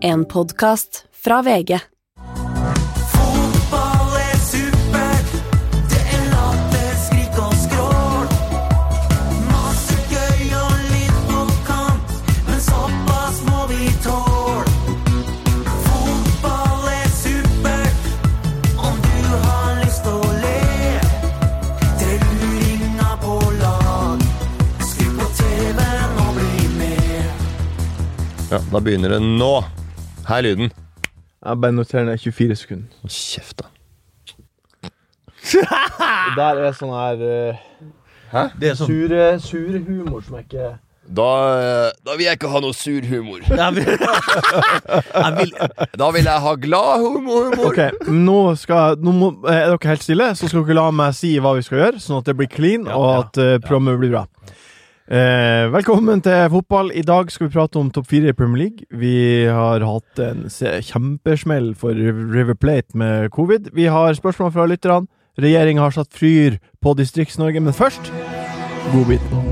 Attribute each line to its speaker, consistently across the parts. Speaker 1: En podkast fra VG.
Speaker 2: Fotball er supert. Det er latter, skrik og skrål. Masse gøy og litt på kant, men såpass må vi tåle. Fotball er supert om du har lyst å le. Tre luringer på lag. Skru på TV-en og bli med.
Speaker 3: Ja, Da begynner det nå. Her er lyden.
Speaker 4: Jeg bare noterer ned 24 sekunder.
Speaker 3: Hold Kjeft, da.
Speaker 4: Det der er sånn her
Speaker 3: Hæ?
Speaker 4: Det er sånn sure, sure humor som jeg ikke
Speaker 3: Da, eh, da vil jeg ikke ha noe sur humor.
Speaker 5: Jeg vil, jeg vil,
Speaker 3: Da vil jeg ha glad humo- humor.
Speaker 4: Ok, nå, skal, nå må, eh, er dere helt stille, så skal dere la meg si hva vi skal gjøre, sånn at det blir clean, og at eh, programmet blir bra. Eh, velkommen til fotball. I dag skal vi prate om topp fire i Premier League. Vi har hatt en se- kjempesmell for River Plate med covid. Vi har spørsmål fra lytterne. Regjeringa har satt fyr på Distrikts-Norge, men først Godbiten.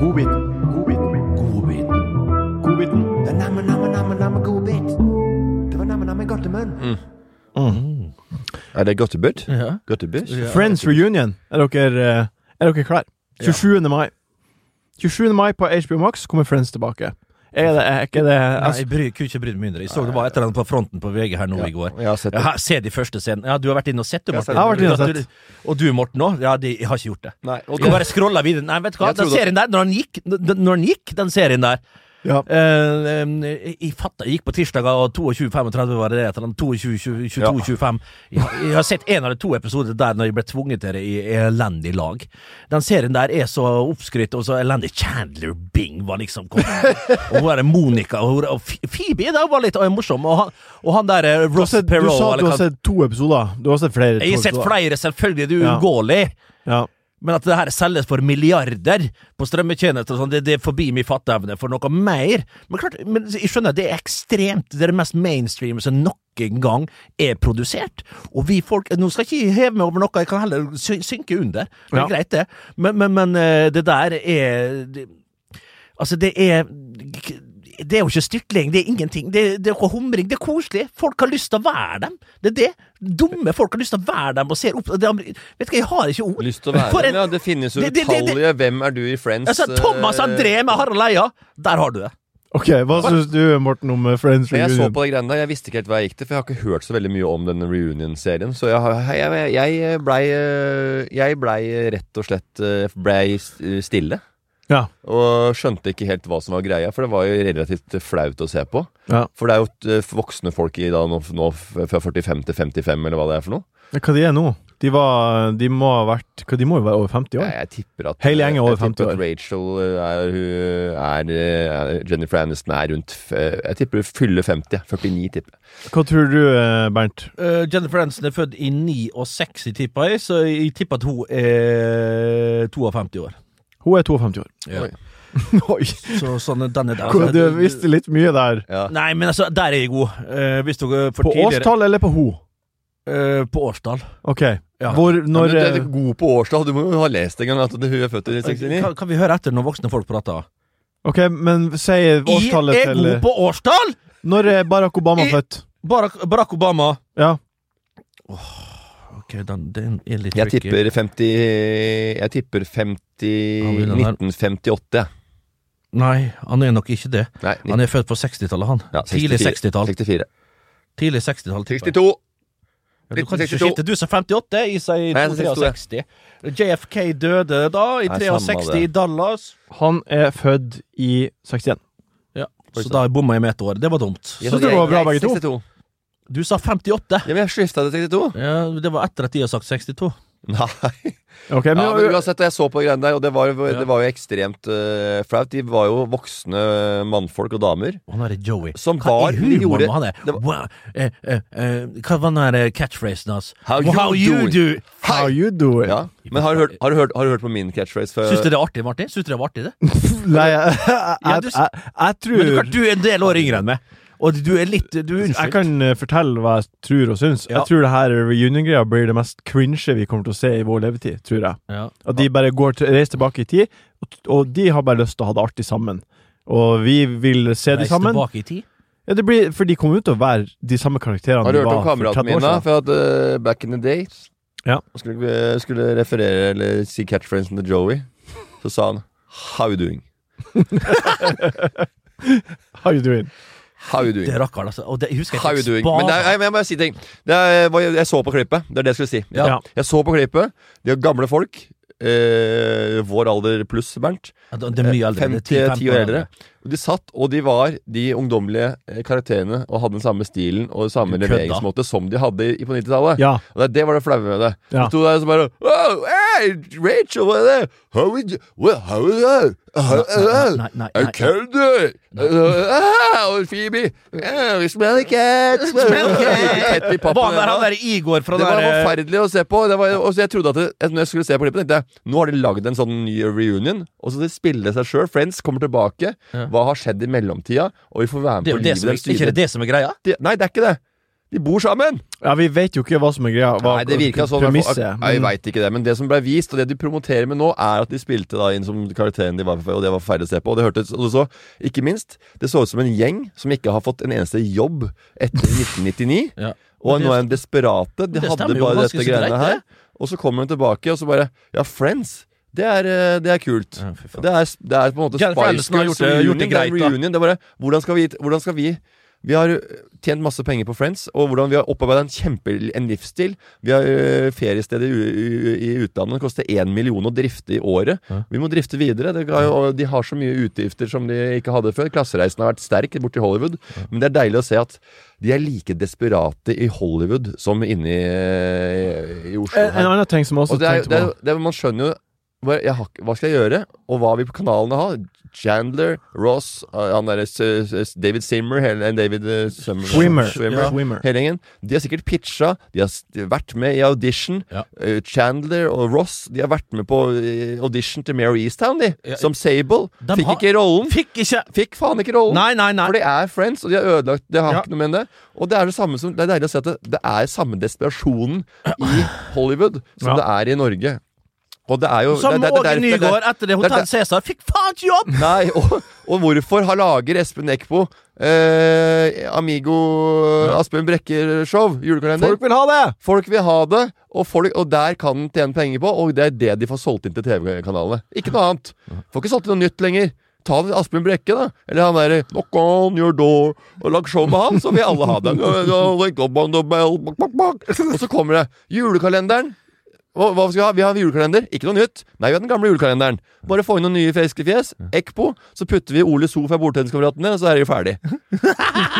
Speaker 4: Godbiten. Godbiten. Godbiten.
Speaker 3: Er det Gottebud?
Speaker 5: ja.
Speaker 3: Gottebud?
Speaker 5: Ja.
Speaker 4: Friends Reunion. Er dere, eh, er dere klar? 27. mai. 27. mai på HBO Max kommer Friends tilbake. Er det, er ikke det
Speaker 5: Nei,
Speaker 4: altså,
Speaker 5: jeg bryr, kunne ikke brydd meg mindre. Jeg så det var et eller annet på fronten på VG her nå i går.
Speaker 3: Jeg har sett det.
Speaker 5: Ja, her, se de første scenene. Ja, du har vært inne og sett det, Morten.
Speaker 4: Jeg har vært inne og sett.
Speaker 5: Gratulerer. Og du, Morten, òg? Ja, de, jeg har ikke gjort det.
Speaker 3: Nei, og
Speaker 5: Vi kan bare scrolle videre. Nei, vet du hva,
Speaker 3: Jeg
Speaker 5: den
Speaker 3: trodde-
Speaker 5: serien der, når han gikk, den, når han gikk, den serien der
Speaker 4: Ja.
Speaker 5: eh, eh, Jeg fatta, jeg gikk på tirsdager og 22.35 var det det etter 22.25 jeg, jeg har sett en eller to episoder der når jeg ble tvunget til det i elendig lag. Den serien der er så oppskrytt og så elendig. Chandler Bing var liksom kom, Og hun er Monica og, hun, og Ph- Phoebe der var litt eh, morsom. Og han, og han der eh,
Speaker 4: Du, har
Speaker 5: Ross
Speaker 4: sett, du
Speaker 5: Perot
Speaker 4: sa at
Speaker 5: eller
Speaker 4: du
Speaker 5: hva-
Speaker 4: har sett to episoder. Du har sett flere.
Speaker 5: Jeg har sett
Speaker 4: episoder.
Speaker 5: flere, selvfølgelig. Det er
Speaker 4: Ja.
Speaker 5: uunngåelig.
Speaker 4: Ja.
Speaker 5: Men at det her selges for milliarder på strømmetjenester, og sånn, det, det er forbi min fatteevne for noe mer. Men klart, men jeg skjønner, det er ekstremt. Det er det mest mainstream som noen gang er produsert. Og vi folk Nå skal jeg ikke heve meg over noe, jeg kan heller sy synke under. Det er
Speaker 4: Ja.
Speaker 5: greit, det. Men, men, men eh, det der er det, Altså, det er det er jo ikke styrtling, det er ingenting. Det, det er ikke humring, det er koselig. Folk har lyst til å være dem. Det er det. Dumme folk har lyst til å være dem og ser opp det, Vet du hva, jeg har ikke ord.
Speaker 3: Lyst til å være
Speaker 5: For en-
Speaker 3: Ja, Det finnes jo
Speaker 5: Det- det- det- det-
Speaker 3: utallige Hvem er du i Friends?
Speaker 5: Altså, Thomas
Speaker 3: eh,
Speaker 5: André med Harald Eia! Der har du det.
Speaker 4: Ok, Hva syns du, Morten, om eh, Friends
Speaker 3: Men jeg så
Speaker 4: Reunion?
Speaker 3: på de greiene der, jeg visste ikke helt hva jeg gikk til, for jeg har ikke hørt så veldig mye om den reunion-serien. Så jeg, har- jeg, jeg blei Jeg blei rett og slett eh, blei s- stille.
Speaker 4: Ja.
Speaker 3: Og skjønte ikke helt hva som var greia, for det var jo relativt flaut å se på.
Speaker 4: ja.
Speaker 3: For det er jo eh, voksne folk i da nå, nå f- fra 45 til 55, eller hva det er for noe.
Speaker 4: Men Hva de er nå? De, var, de må ha vært hva, De må jo være over
Speaker 3: Jeg,
Speaker 4: 50 år?
Speaker 3: jeg tipper at
Speaker 4: Hele gjengen er over
Speaker 3: jeg tipper
Speaker 4: 50
Speaker 3: at Rachel eh, er, hun er, eh, er Jennifer Aniston er rundt f- eh, Jeg tipper hun fyller 50. 49, tipper jeg.
Speaker 4: Hva tror du, eh, Bernt?
Speaker 5: Eh, Jennifer Aniston er født i 69, tipper jeg, så jeg tipper at hun er 52 år.
Speaker 4: Hun er 52 år.
Speaker 5: Ja.
Speaker 3: Oi.
Speaker 4: Oi!
Speaker 5: Så sånn den er der.
Speaker 4: Hva, du visste litt mye der.
Speaker 5: Nei, men altså, der er jeg god. Eh, hvis dere for
Speaker 4: På
Speaker 5: tidligere-
Speaker 4: årstall eller på ho?
Speaker 5: Eh, på årstall.
Speaker 4: Ok.
Speaker 5: Ja.
Speaker 4: Hvor, når
Speaker 3: Men du,
Speaker 4: eh,
Speaker 3: du er god på årstall. Du må jo ha lest en gang at hun er født i 69.
Speaker 5: Kan, kan vi høre etter når voksne folk prater?
Speaker 4: Ok, men si årstallet
Speaker 5: jeg er
Speaker 4: til
Speaker 5: god på årstall!
Speaker 4: Når er Barack Obama
Speaker 5: I-
Speaker 4: født?
Speaker 5: Barack, Barack Obama.
Speaker 4: Ja.
Speaker 5: Ok, den, den er litt
Speaker 3: Jeg
Speaker 5: tricky.
Speaker 3: tipper 50 Jeg tipper 50 1958. jeg.
Speaker 5: Nei, han er nok ikke det.
Speaker 3: Nei,
Speaker 5: Han er født på 60-tallet, han.
Speaker 3: ja,
Speaker 5: Tidlig 60-tall.
Speaker 3: 64.
Speaker 5: Tidlig 60-tall. tipper jeg.
Speaker 3: 62.
Speaker 5: Ja, Du kan ikke
Speaker 3: 62.
Speaker 5: skifte. Du sa 58, jeg
Speaker 3: Nei, jeg
Speaker 5: sier
Speaker 3: sa 62,
Speaker 5: 63. JFK døde da, i
Speaker 3: Nei, samme
Speaker 5: 63
Speaker 3: det.
Speaker 5: i Dallas.
Speaker 4: Han er født i 61.
Speaker 5: Ja, så da bomma jeg med ett år. Det var dumt.
Speaker 4: Synes dere det var bra, begge to?
Speaker 3: 62.
Speaker 5: Du sa 58.
Speaker 3: Ja, men jeg skifta til 62.
Speaker 5: Ja, det var etter at de har sagt 62.
Speaker 3: Nei.
Speaker 4: Ok, men,
Speaker 3: Ja, men uansett, jeg så på greiene der, og det var, jo-
Speaker 5: Ja.
Speaker 3: det var jo ekstremt eh, flaut. De var jo voksne eh, mannfolk og damer.
Speaker 5: Og Han er Joey.
Speaker 3: Som
Speaker 5: Hva
Speaker 3: var-
Speaker 5: er humoren
Speaker 3: de gjorde-
Speaker 5: med han er?
Speaker 3: det var-
Speaker 5: wow, eh, eh, eh, hva var den der eh, catchphrasen hans?
Speaker 3: How
Speaker 5: Well,
Speaker 3: you doing?
Speaker 5: do?
Speaker 4: How you doing?
Speaker 3: Ja. Men har du, hørt, har, du hørt, har du hørt på min catchphrase før?
Speaker 5: Syns du det er artig, Martin? Syns du det var artig, det?
Speaker 4: Nei, jeg, jeg,
Speaker 5: du s-
Speaker 4: jeg,
Speaker 5: Men
Speaker 4: jeg
Speaker 5: du,
Speaker 4: tror
Speaker 5: klart, du er en del år yngre enn meg. Og du er litt Du er
Speaker 4: Jeg
Speaker 5: unnskyldt.
Speaker 4: kan eh, fortelle hva jeg tror og syns.
Speaker 5: Ja.
Speaker 4: Jeg tror det her reunion-greia blir det mest cringe vi kommer til å se i vår levetid. tror jeg.
Speaker 5: Ja.
Speaker 4: At de bare går til, reiser tilbake i tid, og, og de har bare lyst til å ha det artig sammen. Og vi vil se de
Speaker 5: Reis
Speaker 4: sammen.
Speaker 5: tilbake i tid.
Speaker 4: Ja, det blir, for de kommer jo til å være de samme karakterene
Speaker 3: Har du
Speaker 4: de
Speaker 3: hørt
Speaker 4: var
Speaker 3: om
Speaker 4: for 30
Speaker 3: kameraten
Speaker 4: år
Speaker 3: min, da?
Speaker 4: siden.
Speaker 3: For at eh, back in the days
Speaker 4: Ja.
Speaker 3: skulle, skulle referere eller si catchphrasen til Joey. Så sa han How you doing?
Speaker 4: How you doing?
Speaker 3: How you doing?
Speaker 5: Det rakker altså. Og det, jeg husker
Speaker 3: How you doing? Men det er, jeg, jeg må bare si ting. Det er, hva jeg- jeg så på klippet. Det er det jeg skulle si.
Speaker 5: Ja.
Speaker 4: Ja.
Speaker 3: Jeg så på klippet. De er gamle folk. Eh, vår alder pluss, Bernt.
Speaker 5: det, det er mye eldre. det er 10,
Speaker 3: 50-10 år eldre. Og de satt, og de var de ungdommelige eh, karakterene og hadde den samme stilen og samme
Speaker 5: Du kødda.
Speaker 3: leveringsmåte som de hadde i- på 90-tallet.
Speaker 4: Ja.
Speaker 3: Og det, det var det flaue med det.
Speaker 4: Ja.
Speaker 3: De sto der og så bare oh, hey, Rachel, hva er det? How would you well, How would you How would
Speaker 5: Nei, nei, nei,
Speaker 3: I
Speaker 5: nei.
Speaker 3: killed it! Oh, Phoebe! Oh, smelly cat! Smelly cat! Tett i pappen
Speaker 5: Var der
Speaker 3: ennå.
Speaker 5: han der Igor fra
Speaker 3: Det var
Speaker 5: der, eh,
Speaker 3: forferdelig å se på. Det var, og så jeg trodde at det, Når jeg skulle se på klippet, tenkte jeg nå har de lagd en sånn ny reunion. Og så de spiller seg sjøl. Friends kommer tilbake. Hva har skjedd i mellomtida? Og vi får være med
Speaker 5: Det er
Speaker 3: på
Speaker 5: jo det
Speaker 3: livet
Speaker 5: som er,
Speaker 3: deres
Speaker 5: ikke det
Speaker 3: videre.
Speaker 5: det som er greia?
Speaker 3: De- Nei, det er ikke det. De bor sammen!
Speaker 4: ja, vi vet jo ikke hva som er greia. Hva
Speaker 3: Nei, det virka sånn.
Speaker 4: premisset er,
Speaker 3: Nei, jeg
Speaker 4: men-
Speaker 3: vet ikke det. Men det som ble vist, og det de promoterer med nå, er at de spilte da inn som karakteren de var på, og det var forferdelig å se på. Og det hørtes og så, ikke minst, det så ut som en gjeng som ikke har fått en eneste jobb etter 1999.
Speaker 5: Ja.
Speaker 3: Og
Speaker 5: Men
Speaker 3: nå
Speaker 5: det-
Speaker 3: er de desperate. De
Speaker 5: det
Speaker 3: hadde
Speaker 5: stemmer jo
Speaker 3: bare
Speaker 5: ganske
Speaker 3: dette
Speaker 5: så greit,
Speaker 3: greiene her. Og så kommer hun tilbake, og så bare Ja, Friends! Det er, eh, det er kult.
Speaker 5: Ja, fy faen.
Speaker 3: det, er, det er på en måte
Speaker 5: Jennifer Aniston har gjort det-
Speaker 3: reunion,
Speaker 5: gjort det
Speaker 3: er en
Speaker 5: greit, da.
Speaker 3: reunion. Det er bare, hvordan skal vi, hvordan skal vi vi har eh, tjent masse penger på Friends, og hvordan vi har opparbeida en kjempe en livsstil. Vi har eh, feriesteder i, i, i utlandet. Det koster én million å drifte i året. Vi må drifte videre. Det ga jo, og de har så mye utgifter som de ikke hadde før. Klassereisen har vært sterk borti Hollywood. Men det er deilig å se at de er like desperate i Hollywood som inne i, eh, i Oslo.
Speaker 4: En, en annen ting som jeg også
Speaker 3: Og det er,
Speaker 4: tenkte
Speaker 3: det er,
Speaker 4: på
Speaker 3: det er, man skjønner jo hva, jeg, har ikke- hva skal jeg gjøre, og hva vil kanalene ha? Chandler, Ross, eh, han der, s- s- David Simmer hele, eh, David eh, Summer,
Speaker 4: Swimmer.
Speaker 3: Swimmer.
Speaker 4: Swimmer.
Speaker 3: Hele gjengen. De har sikkert pitcha, de har s- vært med i audition.
Speaker 5: Ja.
Speaker 3: Eh, Chandler og Ross De har vært med på eh, audition til Mare Easttown, de.
Speaker 5: Ja.
Speaker 3: Som Sable.
Speaker 5: De
Speaker 3: Fikk
Speaker 5: har-
Speaker 3: ikke rollen.
Speaker 5: Fikk ikke
Speaker 3: Fikk faen ikke rollen.
Speaker 5: Nei, nei, nei.
Speaker 3: For de er friends, og de har ødelagt Det har
Speaker 5: Ja.
Speaker 3: ikke noe med det. Og det er det samme som Det er deilig å se at det, det er samme desperasjonen i Hollywood som
Speaker 4: Ja.
Speaker 3: det er i Norge. Og det er jo
Speaker 5: Som
Speaker 3: det, det, det,
Speaker 5: Åge
Speaker 3: det- det-
Speaker 5: Nygaard etter det
Speaker 3: det-
Speaker 5: Hotell
Speaker 3: det-
Speaker 5: Cæsar fikk faen ikke jobb!
Speaker 3: Nei, og, og hvorfor har lager Espen Eckbo eh, Amigo Asbjørn Brekker-show? Julekalender?
Speaker 4: Folk vil ha det!
Speaker 3: Folk vil ha det, og, folk, og der kan den tjene penger på, og det er det de får solgt inn til TV-kanalene. Ikke noe annet. Får ikke solgt inn noe nytt lenger. Ta det Asbjørn Brekke, da. Eller han derre Knock on your door. Og lag show med han, så vil alle ha det. Like up on the bell, bak, bak, bak. Og så kommer det julekalenderen. Hva, hva skal vi ha? Vi har julekalender. Ikke noe nytt. Nei, vi har den gamle julekalenderen. Bare få inn noen nye friske fjes. Ekpo. Så putter vi Ole So fra Bordtenniskameratene, og så er det ferdig.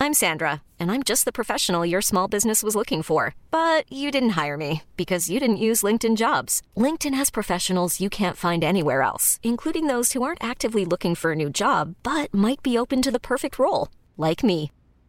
Speaker 6: I'm Sandra, and I'm just the professional your small business was looking for. But you didn't hire me because you didn't use LinkedIn jobs. LinkedIn has professionals you can't find anywhere else, including those who aren't actively looking for a new job but might be open to the perfect role, like me.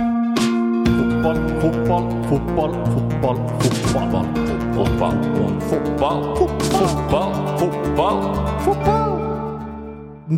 Speaker 4: Fotball, fotball, fotball, fotball, fotball.
Speaker 3: Fotball, fotball, fotball, fotball, fotball.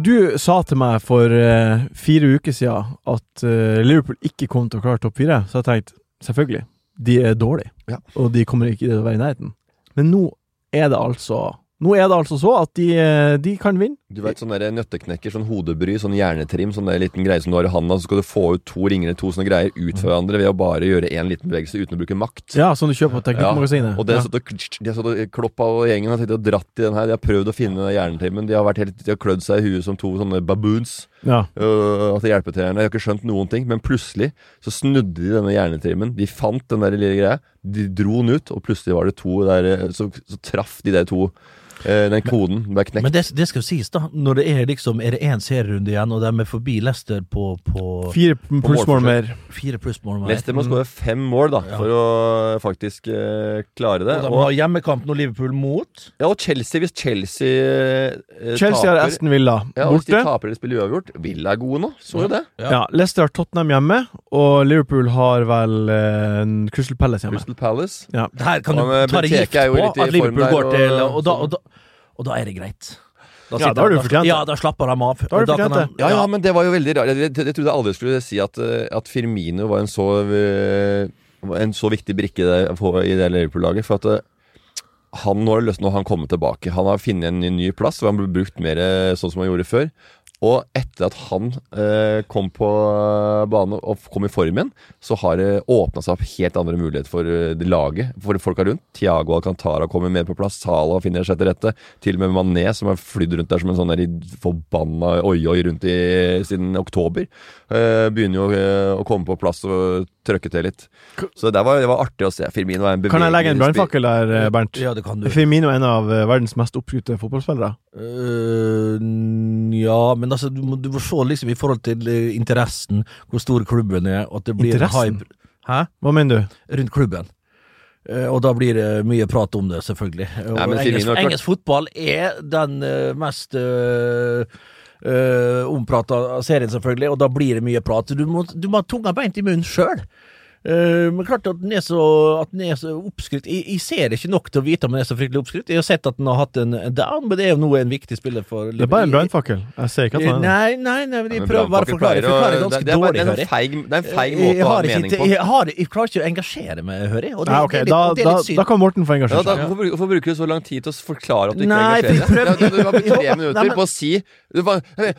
Speaker 4: Du sa til meg for eh, fire uker siden at eh, Liverpool ikke kom til å klare topp fire, så jeg tenkte selvfølgelig, de er dårlige,
Speaker 3: Ja.
Speaker 4: og de kommer ikke til å være i nærheten. Men nå er det altså Nå er det altså så at de, eh, de kan vinne.
Speaker 3: Du vet, sånn der nøtteknekker, sånn hodebry, sånn hjernetrim, sånn der liten greie som du har i handa, så skal du få ut to ringer eller to sånne greier ut fra hverandre ved å bare gjøre én liten bevegelse uten å bruke makt.
Speaker 4: Ja, som du kjøper på Teknikkmagasinet.
Speaker 3: Og det har stått og, de har stått og kloppa og gjengen har sittet og dratt i den her. De har prøvd å finne den hjernetrimmen. De har, vært helt, de har klødd seg i huet som to sånne baboons.
Speaker 4: Ja.
Speaker 3: Øh, at det hjelper til. Jeg har ikke skjønt noen ting, men plutselig så snudde de denne hjernetrimmen. De fant den der lille greia, de dro den ut, og plutselig var det to der eh, Så, så traff de der to. eh, Den koden ble knekt.
Speaker 5: Men det, det skal jo sies, da. Når det er liksom Er det én serierunde igjen, og de er forbi Leicester på, på
Speaker 4: Fire pulsmål
Speaker 3: målforskjell.
Speaker 4: mer.
Speaker 5: fire plussmål med
Speaker 3: Leicester må skåre fem mål da for å faktisk eh, klare det.
Speaker 5: Og de
Speaker 3: Og,
Speaker 5: har hjemmekamp nå Liverpool mot.
Speaker 3: ja, og Chelsea, hvis Chelsea eh,
Speaker 4: Chelsea har
Speaker 3: taper
Speaker 4: Aston Villa
Speaker 3: ja, og Hvis de
Speaker 4: borte.
Speaker 3: taper eller spiller uavgjort Villa er gode nå, så jo det.
Speaker 4: Ja, Leicester har Tottenham hjemme, og Liverpool har vel eh, en Crystal Palace hjemme.
Speaker 3: Crystal Palace.
Speaker 4: Ja.
Speaker 5: Det her kan
Speaker 3: Ja,
Speaker 5: du
Speaker 3: men
Speaker 5: ta deg
Speaker 3: eh, Benteke
Speaker 5: gift
Speaker 3: er jo
Speaker 5: på
Speaker 3: litt i
Speaker 5: at
Speaker 3: form
Speaker 5: Liverpool
Speaker 3: der,
Speaker 5: går til
Speaker 3: og-
Speaker 5: og da, og, da, og da er det greit.
Speaker 4: Ja,
Speaker 5: sitter
Speaker 4: da har du
Speaker 5: han-
Speaker 4: fortjent det.
Speaker 5: Ja, da slapper de av.
Speaker 4: har du
Speaker 5: og da kan
Speaker 4: fortjent
Speaker 5: han-
Speaker 3: Ja, ja, men det var jo veldig rart. Jeg, jeg, jeg trodde jeg aldri skulle si at, eh, at Firmino var en så eh, En så viktig brikke der, for, i det Liverpool-laget. For at eh, han nå har det løsnet, når han kommer tilbake. Han har funnet en ny, ny plass, og han ble brukt mer eh, sånn som han gjorde før. Og etter at han eh, kom på eh, banen og kom i form igjen, så har det åpna seg opp helt andre muligheter for eh, det laget, for folka rundt. Tiago Alcantara kommer mer på plass, Sala finner seg til rette. Til og med Mané, som har flydd rundt der som en sånn der i- forbanna oi-oi rundt i, siden oktober, eh, begynner jo eh, å komme på plass og trøkke til litt. Så det der var, det var artig å se. Firmino er en
Speaker 4: Kan jeg legge en
Speaker 3: bevegelig spi-
Speaker 4: brannfakkel der, eh, Bernt?
Speaker 5: Ja, det kan du.
Speaker 4: Firmino er en av eh, verdens mest oppskrytte fotballspillere.
Speaker 5: Øh, ja, men altså, du må, du må se liksom i forhold til eh, interessen, hvor stor klubben er, og at det blir en
Speaker 4: Interessen?
Speaker 5: hype Hæ?
Speaker 4: Hva mener du?
Speaker 5: rundt klubben. Eh, Og da blir det mye prat om det, selvfølgelig. Og
Speaker 3: Nei, men Firmino
Speaker 5: engelsk,
Speaker 3: har klart-
Speaker 5: engelsk fotball er den eh, mest uh, omprata serien, selvfølgelig, og da blir det mye prat. Du må, du må ha tunga beint i munnen sjøl. men klart at den er så, at den er så oppskrytt. Jeg, jeg ser ikke nok til å vite om den er så fryktelig oppskrytt. Jeg har sett at den har hatt en en down, men det er jo nå en viktig spiller for
Speaker 4: Det er bare en brannfakkel. Jeg ser ikke at han er det.
Speaker 5: Nei, nei, nei,
Speaker 3: Ja,
Speaker 5: men jeg
Speaker 3: men
Speaker 5: prøver bare
Speaker 3: brannfakkel
Speaker 5: å forklare. Jeg
Speaker 3: pleier å-
Speaker 5: forklarer ganske
Speaker 3: det, det er bare-
Speaker 5: dårlig, hører
Speaker 3: Det er
Speaker 5: jeg.
Speaker 3: en feig, det er en feig
Speaker 5: Jeg-
Speaker 3: måte
Speaker 5: Eh, jeg
Speaker 3: å ha
Speaker 5: har ikke
Speaker 3: mening
Speaker 5: tid-
Speaker 3: på.
Speaker 5: Jeg, har, jeg klarer ikke å engasjere meg, hører jeg. og det-
Speaker 4: Nei, Ah, ok,
Speaker 5: det er litt-
Speaker 4: da,
Speaker 5: og det er
Speaker 4: da,
Speaker 5: litt synd.
Speaker 4: da kan Morten
Speaker 3: Ja,
Speaker 4: få engasjere
Speaker 3: da,
Speaker 4: seg.
Speaker 3: hvorfor, hvorfor bruker du så lang tid til å forklare at du ikke
Speaker 5: Nei, for jeg
Speaker 3: engasjerer deg? Ja, du, du har brukt tre
Speaker 5: Jo,
Speaker 3: minutter
Speaker 5: nei, men-
Speaker 3: på å si du, var- Det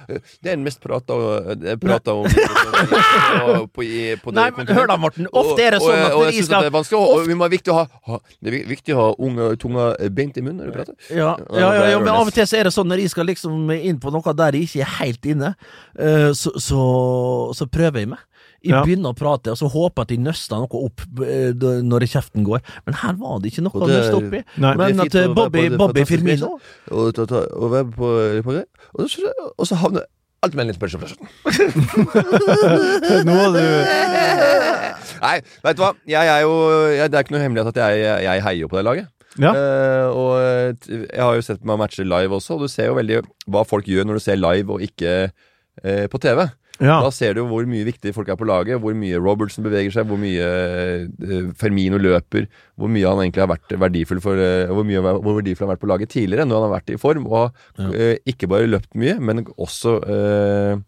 Speaker 3: er den mest prata eh, prata om og på, i, på det
Speaker 5: Nei, men
Speaker 3: kontinentet.
Speaker 5: hør da, Morten. Ofte er det
Speaker 3: Og-
Speaker 5: sånn at
Speaker 3: og, og, jeg
Speaker 5: vi
Speaker 3: synes at
Speaker 5: skal-
Speaker 3: det er vanskelig, og, og vi må viktig å ha, ha Det er viktig å ha unge, tunga beint i munnen når du prater.
Speaker 5: Ja, ja, ja, ja, men av og til så er det sånn når jeg skal liksom inn på noe der jeg ikke er helt inne, eh, så, så, så prøver jeg meg. Jeg
Speaker 4: Ja.
Speaker 5: begynner å prate, og så håper jeg at jeg nøster noe opp eh, da- når kjeften går. Men her var det ikke noe
Speaker 3: Og
Speaker 5: å
Speaker 3: det er-
Speaker 5: nøste opp i.
Speaker 4: Nei.
Speaker 5: Men at eh, Bobby, Bobby Firmino
Speaker 3: Og, ta- ta- og være på, på det. Og, så- og så havner alt med en liten spørsmål.
Speaker 4: Nå er du
Speaker 3: Nei, vet du hva? Jeg er jo, jeg, det er ikke noe hemmelighet at jeg, jeg, jeg heier jo på det laget.
Speaker 4: Ja.
Speaker 3: Eh, og eh, t- jeg har jo sett meg matche live også, og du ser jo veldig hva folk gjør når du ser live og ikke eh, på TV.
Speaker 4: Ja.
Speaker 3: Da ser du jo hvor mye viktige folk er på laget, hvor mye Robertson beveger seg, hvor mye eh, Fermino løper, hvor mye han egentlig har vært verdifull for eh, hvor, mye, hvor verdifull han har vært på laget tidligere, når han har vært i form, og eh, ikke bare løpt mye, men også eh,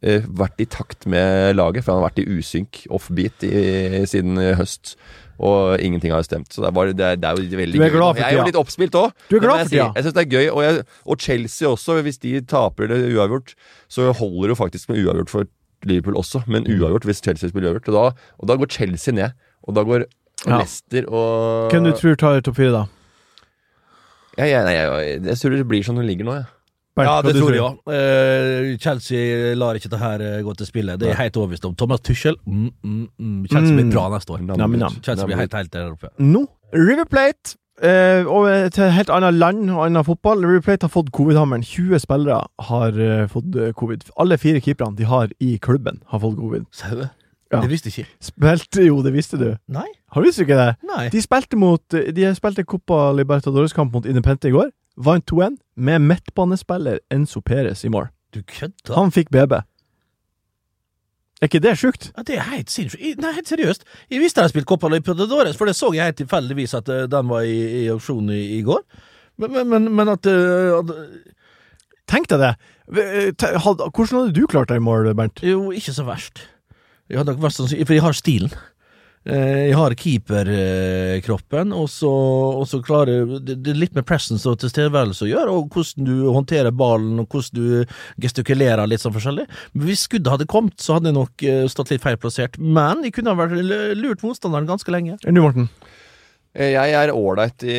Speaker 3: eh, vært i takt med laget, for han har vært i usynk, offbeat, i, siden eh, høst. Og ingenting har stemt. Så det er, bare, det er, det er jo veldig
Speaker 4: Du er
Speaker 3: gøy.
Speaker 4: glad for
Speaker 3: Jeg er jo
Speaker 4: tida.
Speaker 3: litt oppspilt òg.
Speaker 4: Du er glad for
Speaker 3: jeg,
Speaker 4: tida.
Speaker 3: si. jeg syns det er gøy. Og, jeg, og Chelsea også, hvis de taper eller uavgjort, så holder det jo faktisk med uavgjort for Liverpool også,
Speaker 4: Mm.
Speaker 3: men uavgjort hvis Chelsea spiller uavgjort. Og da, og da går Chelsea ned. Og da går
Speaker 4: Ja.
Speaker 3: Leicester og
Speaker 4: Hvem du tror tar topp fire, da?
Speaker 3: Ja, ja, nei, jeg, jeg tror det blir sånn det ligger nå, jeg.
Speaker 4: Bernt,
Speaker 5: Ja,
Speaker 4: hva
Speaker 5: det
Speaker 4: du
Speaker 5: tror jeg òg. Chelsea lar ikke det her eh, gå til spille. Det er jeg helt overbevist om. Thomas Tuchel mm, mm, mm. Chelsea blir
Speaker 4: Mm.
Speaker 5: bra neste år.
Speaker 3: Nam,
Speaker 4: Nam, nam.
Speaker 5: Chelsea blir helt, helt der oppe.
Speaker 4: Nå, River Plate eh, over til et helt annet land og annen fotball. River Plate har fått covid-hammeren. 20 spillere har eh, fått eh, covid. Alle fire keeperne de har i klubben, har fått covid.
Speaker 5: Sa du det?
Speaker 4: Ja.
Speaker 5: Det visste jeg ikke.
Speaker 4: Spilte Jo, det visste du.
Speaker 5: Nei.
Speaker 4: Har du visst ikke det?
Speaker 5: Nei.
Speaker 4: De spilte mot eh, De spilte Copa Libertadores-kamp mot Independente i går. Vant 2-1 med midtbanespiller Enzo Perez i mål.
Speaker 5: Du kødder?
Speaker 4: Han fikk BB. Er ikke det sjukt?
Speaker 5: Ja, det er helt sinnssykt. I- Nei, helt seriøst. Jeg visste de spilte Copa Libertadores, for det så jeg helt tilfeldigvis at eh, den var i, i auksjon i, i går. Men, men, men, men at, eh, at
Speaker 4: Tenk deg det! V- eh, te- hadde- Hvordan hadde du klart deg i mål, Bernt?
Speaker 5: Jo, ikke så verst. Jeg hadde nok vært sånn, for jeg har stilen. Eh, Jeg har keeperkroppen, og så, og så klarer det, det er litt med presence og tilstedeværelse å gjøre, og hvordan du håndterer ballen, og hvordan du gestikulerer litt sånn forskjellig. Men hvis skuddet hadde kommet, så hadde jeg nok eh, stått litt feilplassert. Men jeg kunne ha vært l- lurt motstanderen ganske lenge.
Speaker 4: Enn du, Morten?
Speaker 3: Eh, Jeg er ålreit i,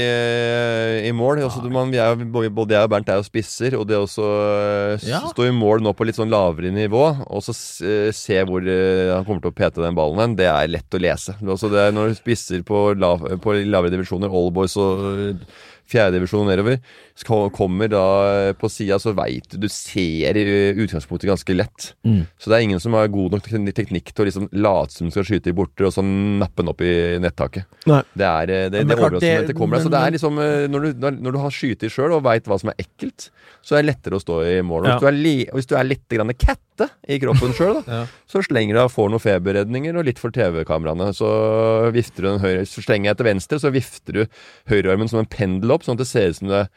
Speaker 3: i mål. Altså, du- man, vi er, jo- både jeg og Bernt er jo spisser, og det å også eh, s-
Speaker 5: Ja.
Speaker 3: stå i mål nå på litt sånn lavere nivå, og så s- eh, se hvor eh, han kommer til å pete den ballen hen, det er lett å lese. Det er også det når du spisser på, lav, på lavere divisjoner, all boys og eh, fjerdedivisjon nedover, så ko- kommer da eh, på sida, så veit du Du ser i eh, utgangspunktet ganske lett. Så det er ingen som har god nok tekn- teknikk til å liksom late som du skal skyte i borter, og så nappe den opp i nettaket.
Speaker 4: Nei.
Speaker 3: Det er eh, det,
Speaker 5: Men
Speaker 3: det
Speaker 5: klart, det-
Speaker 3: overraskende kommer deg. Så det
Speaker 5: men-
Speaker 3: er liksom eh, Når du, når- når du har skyter sjøl og veit hva som er ekkelt, så er det lettere å stå i mål. Og
Speaker 4: Ja.
Speaker 3: Hvis, du er li, og hvis du er litt grann katte i kroppen sjøl, så slenger du deg og får noen feberredninger og litt for TV-kameraene. Så vifter du den høyre Så slenger jeg til venstre, så vifter du høyrearmen som en pendel opp, sånn at det ser ut som det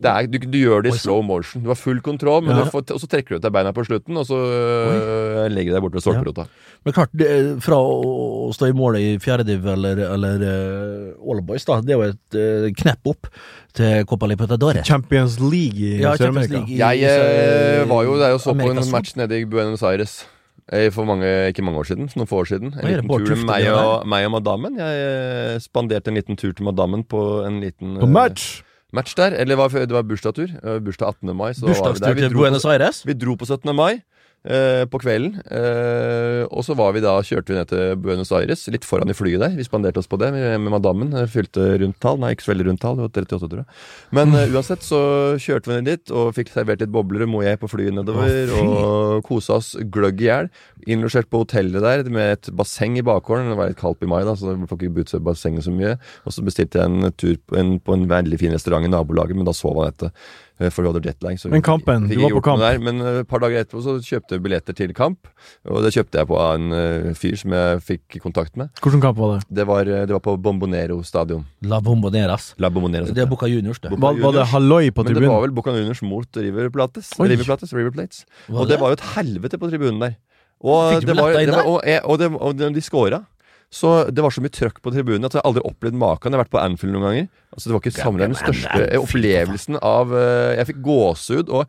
Speaker 3: det er, du, du gjør det i slow motion. Du har full kontroll, men
Speaker 4: Ja.
Speaker 3: du får, og så trekker du ut deg beina på slutten, og så øh, legger du deg borte ved stolperota.
Speaker 5: Men klart, det, er fra å å stå i mål i fjerdediv eller, eller eh, All Boys, da, det er jo et eh, knepp opp til Copa Libertadores.
Speaker 4: Champions League i
Speaker 5: Ja, Champions
Speaker 4: Sør-Amerika.
Speaker 5: League i-
Speaker 3: Jeg
Speaker 5: i-
Speaker 3: øh, var jo der og så på
Speaker 5: Amerikas
Speaker 3: en match nede i Buenos Aires. eh, For mange, ikke mange år siden, noen få år siden. En
Speaker 5: Oi, er det
Speaker 3: liten
Speaker 5: Bård
Speaker 3: tur med
Speaker 5: Tufte
Speaker 3: meg
Speaker 5: det
Speaker 3: og, meg og madammen. Jeg eh, spanderte en liten tur til madammen på en liten eh,
Speaker 4: På match!
Speaker 3: match der. Eller det var, det var bursdagstur. eh, Bursdag 18. mai. Så var vi der.
Speaker 5: Bursdagstur
Speaker 3: Vi
Speaker 5: til
Speaker 3: dro på-
Speaker 5: Buenos Aires.
Speaker 3: Vi dro på 17. mai eh, på kvelden, eh, og så var vi da, kjørte vi ned til Buenos Aires, litt foran i flyet der. Vi spanderte oss på det med, med madammen. eh, Fylte rundt tall. Nei, ikke så veldig rundt tall, det var 38, tror jeg. Men eh, uansett så kjørte vi ned dit og fikk servert litt bobler og moé på flyet nedover. og kosa oss gløgg i hjel. Innlosjert på hotellet der med et basseng i bakgården. Det var litt kaldt i mai, da, så vi får ikke brukt seg i bassenget så mye. Og så bestilte jeg en tur på en, på en veldig fin restaurant i nabolaget, men da sov han etter. eh, For vi hadde jetlag. så vi
Speaker 4: Men
Speaker 3: fikk-
Speaker 4: kampen,
Speaker 3: fikk
Speaker 4: du var
Speaker 3: ikke
Speaker 4: på
Speaker 3: gjort noe
Speaker 4: kamp.
Speaker 3: der, men eh, et par dager etterpå så kjøpte jeg billetter til kamp. Og det kjøpte jeg på av en eh, fyr som jeg fikk kontakt med.
Speaker 4: Hvilken kamp var det?
Speaker 3: Det var, eh, det var på Bombonero stadion.
Speaker 5: La Bomboneras.
Speaker 3: La Bombonero.
Speaker 5: Det er Boca Juniors, det.
Speaker 3: Bo-
Speaker 4: Var, var det halloi på
Speaker 3: Men det var
Speaker 4: tribunen?
Speaker 3: vel Boca Juniors mot River Plates.
Speaker 4: Oi.
Speaker 3: River Plates, River Plates.
Speaker 5: Var
Speaker 3: og det var jo et helvete på tribunen der. Og,
Speaker 5: Fikk du
Speaker 3: det var,
Speaker 5: billetter inn
Speaker 3: det var,
Speaker 5: der?
Speaker 3: og, jeg- og, det, og de- de scora. Så det var så mye trøkk på tribunen at jeg aldri opplevd maken. Jeg har vært på Anfield noen ganger. Altså Det var ikke sammenlignet med den største opplevelsen av eh, Jeg fikk gåsehud. Og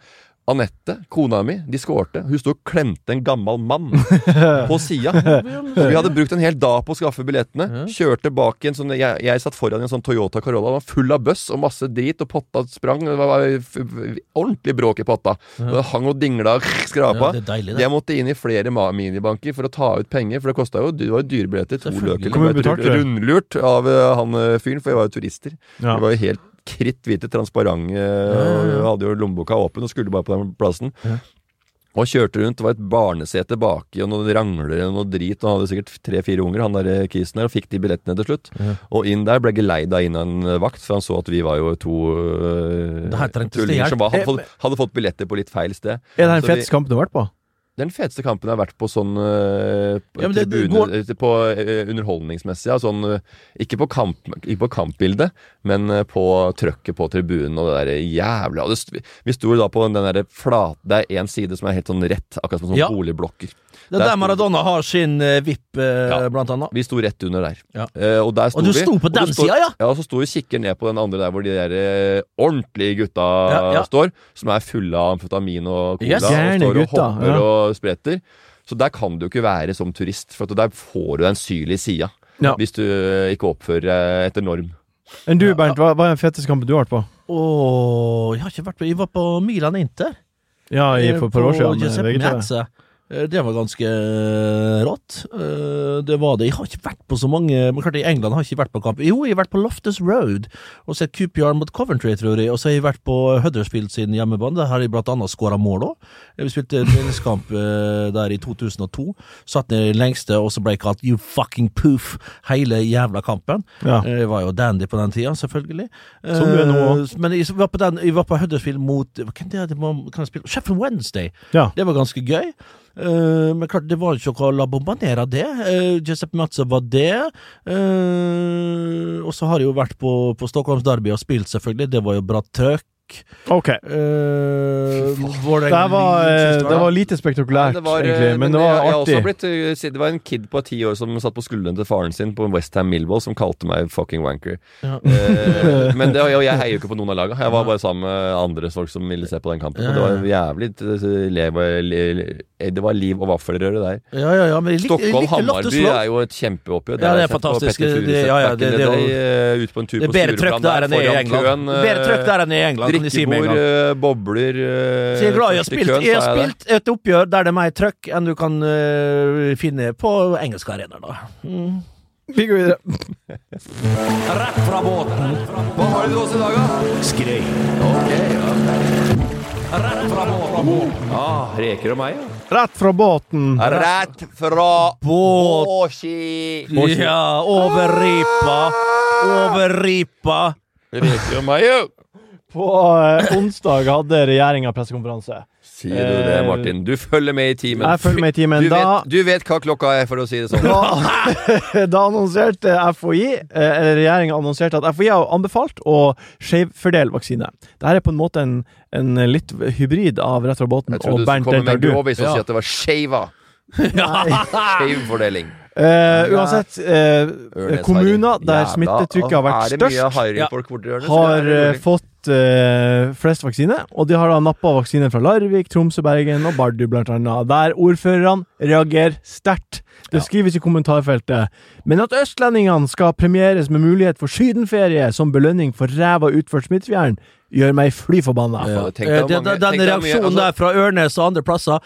Speaker 3: Anette, kona mi, de skårte. Hun sto og klemte en gammel mann på sida. Så vi hadde brukt en hel dag på å skaffe billettene. Kjørte bak i en sånn Jeg, jeg satt foran i en sånn Toyota Corolla. Den var full av bøss og masse drit, og potta sprang. Det var, var f- f- ordentlig bråk i potta. Det hang og dingla og
Speaker 5: Ja,
Speaker 3: skrapa.
Speaker 5: det er deilig, det.
Speaker 3: Jeg måtte inn i flere ma- minibanker for å ta ut penger, for det kosta jo Det var jo dyre billetter. To
Speaker 5: Selvfølgelig.
Speaker 3: løker.
Speaker 4: Hvor mye
Speaker 3: Jeg ble
Speaker 4: betalte du?
Speaker 3: Rundlurt av eh, han eh, fyren, for vi var jo turister.
Speaker 4: Ja.
Speaker 3: Vi var jo helt kritthvite, transparente, og hadde jo lommeboka åpen og skulle bare på den plassen. Og kjørte rundt, det var et barnesete baki og noen rangler og noe drit. Og han hadde sikkert tre-fire unger, han der eh, kisen der, og fikk de billettene til slutt. Og inn der ble geleida inn av en eh, vakt, for han så at vi var jo to eh,
Speaker 5: Det her trengtes det hjelp.
Speaker 3: tullinger som var,
Speaker 4: Eh,
Speaker 3: hadde, fått, hadde fått billetter på litt feil sted.
Speaker 4: Er det den
Speaker 3: Så vi-
Speaker 4: feteste kampen du har vært på?
Speaker 3: det er Den feteste kampen jeg har vært på sånn eh, på
Speaker 5: Ja, men det- det
Speaker 3: tribune,
Speaker 5: går-
Speaker 3: eh, På eh, underholdningsmessig. Ja, sånn, eh, ikke, på kamp, ikke på kampbildet, men eh, på trøkket på tribunen og det der jævla og det, st- Vi sto jo da på den der flat... Det er én side som er helt sånn rett, akkurat som sånne
Speaker 5: Ja.
Speaker 3: boligblokker.
Speaker 5: Det er der Maradona har sin eh, VIP, eh,
Speaker 3: Ja.
Speaker 5: blant annet.
Speaker 3: Vi sto rett under der.
Speaker 5: Ja.
Speaker 3: Eh, og der sto
Speaker 5: Og du
Speaker 3: vi.
Speaker 5: sto på
Speaker 3: og det
Speaker 5: den
Speaker 3: står-
Speaker 5: sida, ja.
Speaker 3: Ja, og så sto vi og kikker ned på den andre der hvor de der eh, ordentlige gutta
Speaker 5: Ja, ja.
Speaker 3: står. Som er fulle av amfetamin og cola.
Speaker 5: Yes.
Speaker 3: og
Speaker 4: Gjerne
Speaker 3: står og
Speaker 4: gutta,
Speaker 3: hopper
Speaker 4: ja.
Speaker 3: og spretter. Så der kan du ikke være som turist, for at der får du en syl i sida.
Speaker 4: Ja.
Speaker 3: Hvis du eh, ikke oppfører deg etter norm.
Speaker 4: Enn du, Bernt, hva, hva er den feteste kampen du har vært på?
Speaker 5: Åh, jeg har ikke vært på Jeg var på Milan Inter.
Speaker 4: Ja, i, for et par år
Speaker 5: Eh, På
Speaker 4: siden. med
Speaker 5: Giuseppe
Speaker 4: VGTV.
Speaker 5: Meazza. Eh, Det var ganske eh, rått. Eh, Det var det. Jeg har ikke vært på så mange Men klart, i England har jeg ikke vært på kamp. Jo, jeg har vært på Loftus Road og sett QPR mot Coventry, tror jeg. Og så har jeg vært på Huddersfield sin hjemmebane. Der har jeg blant annet skåra mål òg. Vi spilte treningskamp eh, der i 2002. Satt ned i det lengste, og så ble jeg kalt 'you fucking poof' hele jævla kampen.
Speaker 4: Ja.
Speaker 5: Eh, Jeg var jo dandy på den tida, selvfølgelig.
Speaker 4: Som du er nå også.
Speaker 5: Eh, Men jeg var på, den, jeg var på Huddersfield mot Hvem det er det var- kan jeg spille? Sheffield Wednesday.
Speaker 4: Ja.
Speaker 5: Det var ganske gøy. Eh, men klart, det var jo ikke noe La Bombanera, det. Eh, Giuseppe Mazza var det. Eh, og så har jeg jo vært på, på Stockholms Derby og spilt, selvfølgelig. Det var jo bra trøkk. Stabæk.
Speaker 3: Øh,
Speaker 4: OK.
Speaker 5: Uh,
Speaker 4: Det her var, eh, det var lite
Speaker 3: Nei,
Speaker 4: spektakulært,
Speaker 3: det var, eh,
Speaker 4: egentlig, men det
Speaker 3: jeg-
Speaker 4: var
Speaker 3: jeg har
Speaker 4: artig.
Speaker 3: også blitt, eh, si- det var en kid på ti år som satt på skuldrene til faren sin på Westham Millwall som kalte meg fucking wanker. Eh, men det, og jeg heier jo ikke på noen av laga. Jeg var bare sammen med andre folk som ville se på den kampen. Og det var jævlig eh, lev, og- le, le, Det var liv og vaffelrøre der.
Speaker 5: Ja, ja, ja, men jeg likte- jeg likte Lottes
Speaker 3: Stockholm-Hammarby
Speaker 5: låt.
Speaker 3: er jo et kjempeoppgjør.
Speaker 5: Ja, det er
Speaker 3: jeg sett på
Speaker 5: fantastisk.
Speaker 3: Petter Furuseth
Speaker 5: Det- ja, ja,
Speaker 3: back in
Speaker 5: det-
Speaker 3: the
Speaker 5: det er jo-
Speaker 3: day, eh, Ut på en tur
Speaker 5: Det er
Speaker 3: på
Speaker 5: bedre trøkk
Speaker 3: Stureplan
Speaker 5: der enn det i
Speaker 3: foran
Speaker 5: England.
Speaker 3: køen, eh,
Speaker 5: Bedre trøkk der enn i England, kan de si med en
Speaker 3: Drikkebord,
Speaker 5: gang.
Speaker 3: eh, bobler eh,
Speaker 5: Så jeg er glad jeg har
Speaker 3: først i
Speaker 5: spilt,
Speaker 3: køen,
Speaker 5: jeg har
Speaker 3: sa jeg der.
Speaker 5: spilt et oppgjør der det er mer trøkk enn du kan eh, finne på engelske arenaer, da. Mm.
Speaker 4: Vi går videre.
Speaker 5: Rett fra båten.
Speaker 3: Hva har dere til oss i dag, da?
Speaker 5: Skrei.
Speaker 3: Ah, reker og meg, ja.
Speaker 4: Rett fra båten.
Speaker 3: Rett fra
Speaker 5: Båt.
Speaker 3: Åski.
Speaker 5: Ja, over ripa. Over ripa.
Speaker 3: Reker og meg, jo.
Speaker 4: På eh, onsdag hadde regjeringa pressekonferanse.
Speaker 3: Sier du det, Martin? Du følger med i timen.
Speaker 4: Jeg følger med i timen.
Speaker 3: Du
Speaker 4: Da-
Speaker 3: vet, du vet hva klokka er, for å si det sånn.
Speaker 4: Da, da annonserte FHI, eh, eller regjeringa annonserte at FHI har anbefalt å skjevfordele vaksine. Dette er på en måte en, en litt hybrid av Rett fra båten
Speaker 3: Jeg trodde
Speaker 4: og
Speaker 3: du skulle
Speaker 4: Bernt
Speaker 3: komme med
Speaker 4: deltar
Speaker 3: en
Speaker 4: du.
Speaker 3: grovis og si at det var skeiva. Skeiv fordeling.
Speaker 4: Eh, uansett, eh,
Speaker 3: Ørnes,
Speaker 4: kommuner
Speaker 3: Harry.
Speaker 4: der
Speaker 3: Jævla,
Speaker 4: smittetrykket har
Speaker 3: å,
Speaker 4: vært
Speaker 3: Er det mye
Speaker 4: størst,
Speaker 3: harryfolk borti hjørnet? så er
Speaker 4: har
Speaker 3: det
Speaker 4: eh,
Speaker 3: rolig.
Speaker 4: fått eh, flest vaksine. Og de har da nappa vaksiner fra Larvik, Tromsø, Bergen og Bardu, blant annet. Der ordførerne reagerer sterkt. Det skrives i kommentarfeltet. Men at østlendingene skal premieres med mulighet for sydenferie som belønning for ræva utført Smithfjæren, gjør meg fly forbanna.
Speaker 3: Ja.
Speaker 5: Eh,
Speaker 3: Tenk deg hvor
Speaker 5: den-
Speaker 3: mange-
Speaker 5: Den
Speaker 3: tenk deg hvor mye-
Speaker 5: reaksjonen
Speaker 3: altså-
Speaker 5: der fra Ørnes og andre plasser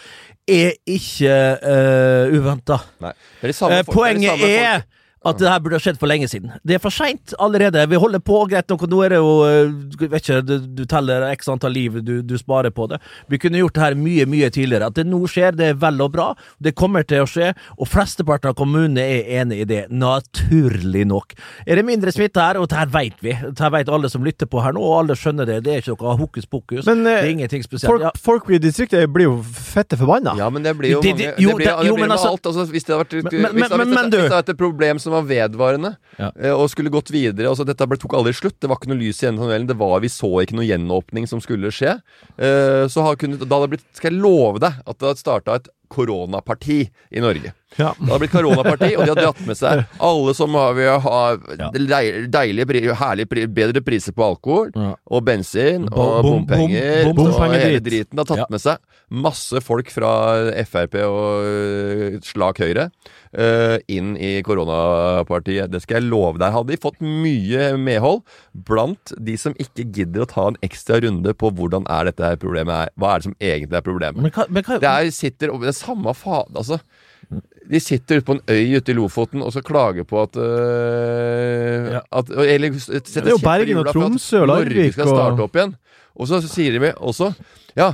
Speaker 5: er ikke uh, uventa.
Speaker 3: Nei. Det er de samme
Speaker 5: Eh,
Speaker 3: folk- det
Speaker 5: Poenget
Speaker 3: de samme
Speaker 5: er
Speaker 3: folk.
Speaker 5: at det her burde ha skjedd for lenge siden. Det er for seint allerede. Vi holder på, greit nok, og nå er det jo eh, du vet ikke, du, du teller x antall liv du, du sparer på det. Vi kunne gjort det her mye, mye tidligere. At det nå skjer, det er vel og bra. Det kommer til å skje, og flesteparten av kommunene er enig i det. Naturlig nok. Er det mindre smitte her, og det her veit vi. Det her veit alle som lytter på her nå, og alle skjønner det. Det er ikke noe hokus pokus.
Speaker 4: Men, eh,
Speaker 5: det er ingenting spesielt.
Speaker 4: Folk,
Speaker 5: Ja.
Speaker 4: folk i distriktet blir jo fette forbanna.
Speaker 3: Ja, men det blir jo
Speaker 5: Det-
Speaker 3: mange
Speaker 5: det-
Speaker 3: Det
Speaker 5: jo,
Speaker 3: blir det
Speaker 5: det- jo,
Speaker 3: blir
Speaker 5: men
Speaker 3: med
Speaker 5: altså-
Speaker 3: alt. Altså, hvis det hadde vært hvis,
Speaker 5: Men- men-
Speaker 3: hvis, det-
Speaker 5: men-
Speaker 3: hvis,
Speaker 5: men
Speaker 3: det-
Speaker 5: du-
Speaker 3: hvis det hadde vært et problem som var vedvarende,
Speaker 5: Ja.
Speaker 3: eh, og skulle gått videre altså, Dette ble, tok aldri slutt. Det var ikke noe lys i enden av tunnelen. Det var, vi så ikke noe gjenåpning som skulle skje. Eh, så har kunnet, da hadde det blitt Skal jeg love deg at det hadde starta et koronaparti i Norge.
Speaker 4: Ja.
Speaker 3: Det hadde blitt koronaparti, og de hadde dratt med seg alle som har, vil ha deil- deilige, pri- herlige, pri- bedre priser på alkohol
Speaker 5: Ja.
Speaker 3: og bensin
Speaker 5: Bo-
Speaker 3: og
Speaker 5: bom- bom-
Speaker 3: bompenger.
Speaker 5: bom-
Speaker 3: og
Speaker 4: bompengedrit.
Speaker 3: hele driten har tatt
Speaker 5: Ja.
Speaker 3: med seg masse folk fra Frp og øh, slak Høyre øh, inn i koronapartiet. Det skal jeg love deg. Hadde de fått mye medhold blant de som ikke gidder å ta en ekstra runde på hvordan er dette her problemet er. Hva er det som egentlig er problemet?
Speaker 5: Men hva, men hva,
Speaker 3: Det er, sitter Det er samme faen, altså. De sitter ute på en øy ute i Lofoten og så klager på at, øh,
Speaker 5: Ja.
Speaker 3: at Eller s- setter
Speaker 4: Det er jo
Speaker 3: kjepper i
Speaker 4: Bergen og
Speaker 3: hjula for at
Speaker 4: Tromsø og
Speaker 3: Norge
Speaker 4: Larvik
Speaker 3: skal
Speaker 4: og-
Speaker 3: starte opp igjen. Og så sier de også Ja,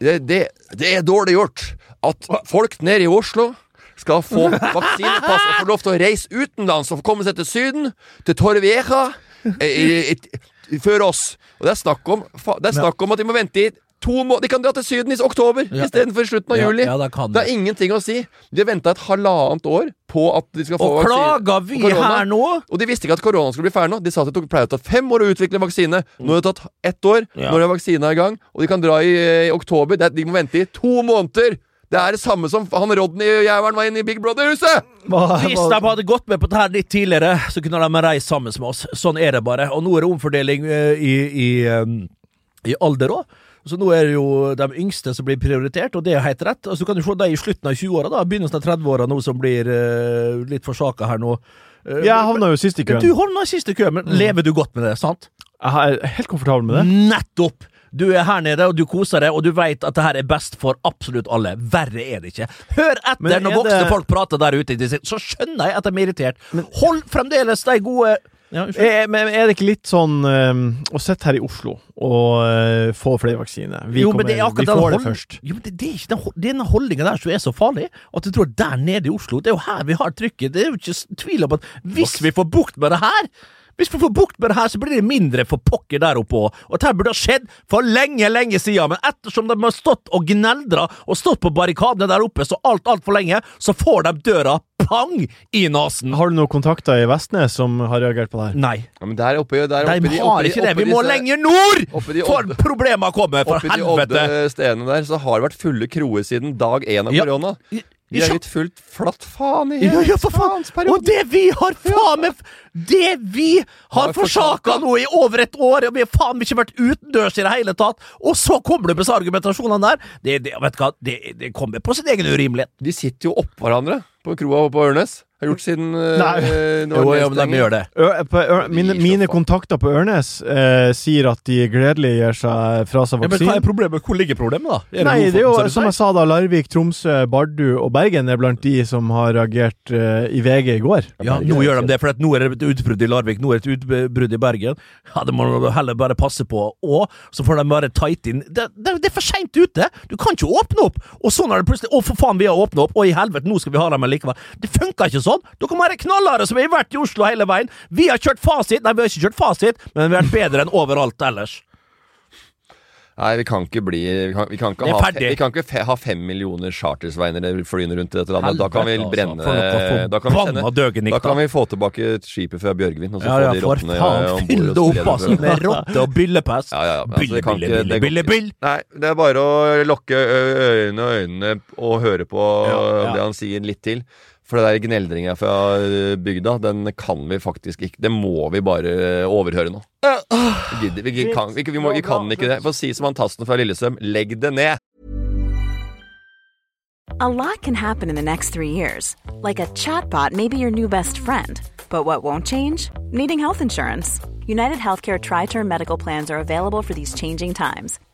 Speaker 3: det, det, det er dårlig gjort at folk nede i Oslo skal få vaksinepass og få lov til å reise utenlands og få komme seg til Syden, til Torrevieja, eh, eh, før oss. Og det er snakk om, fa- det er snakk om at de må vente i to måneder. De kan dra til Syden i s- oktober
Speaker 5: Ja.
Speaker 3: istedenfor i slutten av
Speaker 5: Ja,
Speaker 3: juli.
Speaker 5: ja, det kan
Speaker 3: er ingenting å si. De har venta et halvannet år på at de skal få
Speaker 5: og
Speaker 3: vaksine.
Speaker 5: klager vi
Speaker 3: og korona.
Speaker 5: her nå?
Speaker 3: Og de visste ikke at korona skulle bli ferdig nå. De sa at det tok, pleier å ta fem år å utvikle vaksine. Nå har det tatt ett år.
Speaker 5: Ja.
Speaker 3: Når er vaksina i gang, og de kan dra i, i oktober. Det, er- de må vente i to måneder! Det er det samme som han Rodney Jævelen var inne i Big Brother-huset!
Speaker 4: Hva-
Speaker 5: Hvis
Speaker 4: hva-
Speaker 5: de hadde gått med på det her litt tidligere, så kunne de ha reist sammen med oss. Sånn er det bare. Og nå er det omfordeling eh, i, i, eh, i alder òg. Så nå er det jo de yngste som blir prioritert, og det er helt rett. Og så kan du se de i slutten av 20-åra, da. Begynnelsen av 30-åra nå som blir eh, litt forsaka her nå. Eh,
Speaker 4: jeg havna jo sist i
Speaker 5: men
Speaker 4: køen.
Speaker 5: Du havna i siste kø, men lever du godt med det, sant?
Speaker 4: Jeg er helt komfortabel med det.
Speaker 5: Nettopp! Du er her nede, og du koser deg, og du veit at det her er best for absolutt alle. Verre er det ikke. Hør
Speaker 4: Men
Speaker 5: etter når
Speaker 4: er
Speaker 5: voksne
Speaker 4: det-
Speaker 5: folk prater der ute, i distrikt, så skjønner jeg at de er irritert. Hold fremdeles de gode ja, unnskyld.
Speaker 4: Er, Eh, men er det ikke litt sånn eh, å sitte her i Oslo og eh, få flere vaksiner? Vi,
Speaker 5: Jo, men
Speaker 4: kommer,
Speaker 5: det er akkurat
Speaker 4: vi
Speaker 5: den
Speaker 4: får det
Speaker 5: hold-
Speaker 4: først.
Speaker 5: Jo, men det, det er ikke den, hol- det er den holdningen der som er så farlig. At du tror der nede i Oslo Det er jo her vi har trykket. Det er jo ikke s- tvil om at hvis vi får bukt med det her Hvis vi får bukt med det her, så blir det mindre for pokker der oppe òg. Og dette burde ha skjedd for lenge, lenge siden, men ettersom de har stått og gneldra og stått på barrikadene der oppe så alt, altfor lenge, så får de døra pang i nesen.
Speaker 4: Har du noen kontakter i Vestnes som har reagert på det her?
Speaker 5: Nei,
Speaker 3: Ja, men der oppe, der oppe
Speaker 5: de
Speaker 3: de-
Speaker 5: har
Speaker 3: oppe de-
Speaker 5: ikke det.
Speaker 3: oppe
Speaker 5: Vi
Speaker 3: de
Speaker 5: må
Speaker 3: se-
Speaker 5: lenger nord!
Speaker 3: oppe de
Speaker 5: For
Speaker 3: odde-
Speaker 5: problemer kommer, for
Speaker 3: Oppe i de odde
Speaker 5: helvete!
Speaker 3: stedene der så har det vært fulle kroer siden dag én av
Speaker 5: Ja.
Speaker 3: korona.
Speaker 5: I- i
Speaker 3: De har
Speaker 5: sja-
Speaker 3: gitt fullt flatt faen i
Speaker 5: Ja,
Speaker 3: hele
Speaker 5: ja, for faen! Og
Speaker 3: faensperiode.
Speaker 5: det vi har faen meg Det vi har
Speaker 3: Har forsaka.
Speaker 5: forsaka nå i over et år, og vi har faen ikke vært utendørs i det hele tatt, og så kommer du med disse argumentasjonene der! Det, det, vet du hva, det, det kommer på sin egen urimelighet.
Speaker 3: De sitter jo oppå hverandre på kroa på Ørnes. Har gjort siden eh,
Speaker 4: Nei.
Speaker 3: det var
Speaker 5: Jo, jo, men
Speaker 3: nedstenging.
Speaker 5: de gjør det.
Speaker 4: Ø- på Ø- mine, mine kontakter på Ørnes eh, sier at de gledelig gir seg fra seg
Speaker 5: men hva
Speaker 4: vaksinen.
Speaker 5: er problemet? Hvor ligger problemet, da?
Speaker 4: Nei, det er jo som jeg sa da, Larvik, Tromsø, Bardu og Bergen er blant de som har reagert eh, i VG i går.
Speaker 5: Ja, nå gjør de det, for at nå er det et utbrudd i Larvik, nå er det et utbrudd i Bergen. Ja, Det må du heller bare passe på. Og så får de bare tight inn. Det, det, det er for seint ute! Du kan ikke åpne opp! Og så når det plutselig Å, for faen, vi har åpna opp! Å, i helvete, nå skal vi ha dem likevel. Det funker ikke sånn! Dere må være knallharde som har vært i Oslo hele veien! Vi har kjørt fasit! Nei, vi har ikke kjørt fasit, men vi har vært bedre enn overalt ellers.
Speaker 3: Nei, vi kan ikke bli Vi kan, vi kan, ikke,
Speaker 5: Det er
Speaker 3: ha,
Speaker 5: ferdig.
Speaker 3: fe- vi kan ikke fe, ha fem millioner chartersveinere flyende rundt i dette landet. da kan vi
Speaker 5: Helvete,
Speaker 3: brenne
Speaker 5: altså. For noe
Speaker 3: da kan vi,
Speaker 5: forbanna
Speaker 3: sende-
Speaker 5: døgenikk,
Speaker 3: da
Speaker 5: da.
Speaker 3: kan vi få tilbake skipet fra Bjørgvin, og så
Speaker 5: Ja, ja,
Speaker 3: få de
Speaker 5: for
Speaker 3: rottene eh,
Speaker 5: faen,
Speaker 3: ombord
Speaker 5: fyll
Speaker 3: og
Speaker 5: det opp,
Speaker 3: spre
Speaker 5: altså, med rotte og byllepest!
Speaker 3: Ja, ja, ja. men
Speaker 5: Bille,
Speaker 3: det kan
Speaker 5: bille,
Speaker 3: ikke-
Speaker 5: bille,
Speaker 3: det går
Speaker 5: bille,
Speaker 3: ikke.
Speaker 5: bill.
Speaker 3: Nei, det er bare å lukke ø- øynene og øynene og høre på ø, det han sier litt til. For det der gneldringa fra ø, bygda, den kan vi faktisk ikke Det må vi bare ø, overhøre nå. Vi gidder, vi, gi- kan, vi, vi, må, vi kan ikke det. For å si som han Tassen fra Lillestrøm, legg det ned!
Speaker 7: A lot can happen in the next three years. Like a chatbot may be your new best friend. But what won't change? Needing health insurance. United Healthcare Tri Term Medical Plans are available for these changing times.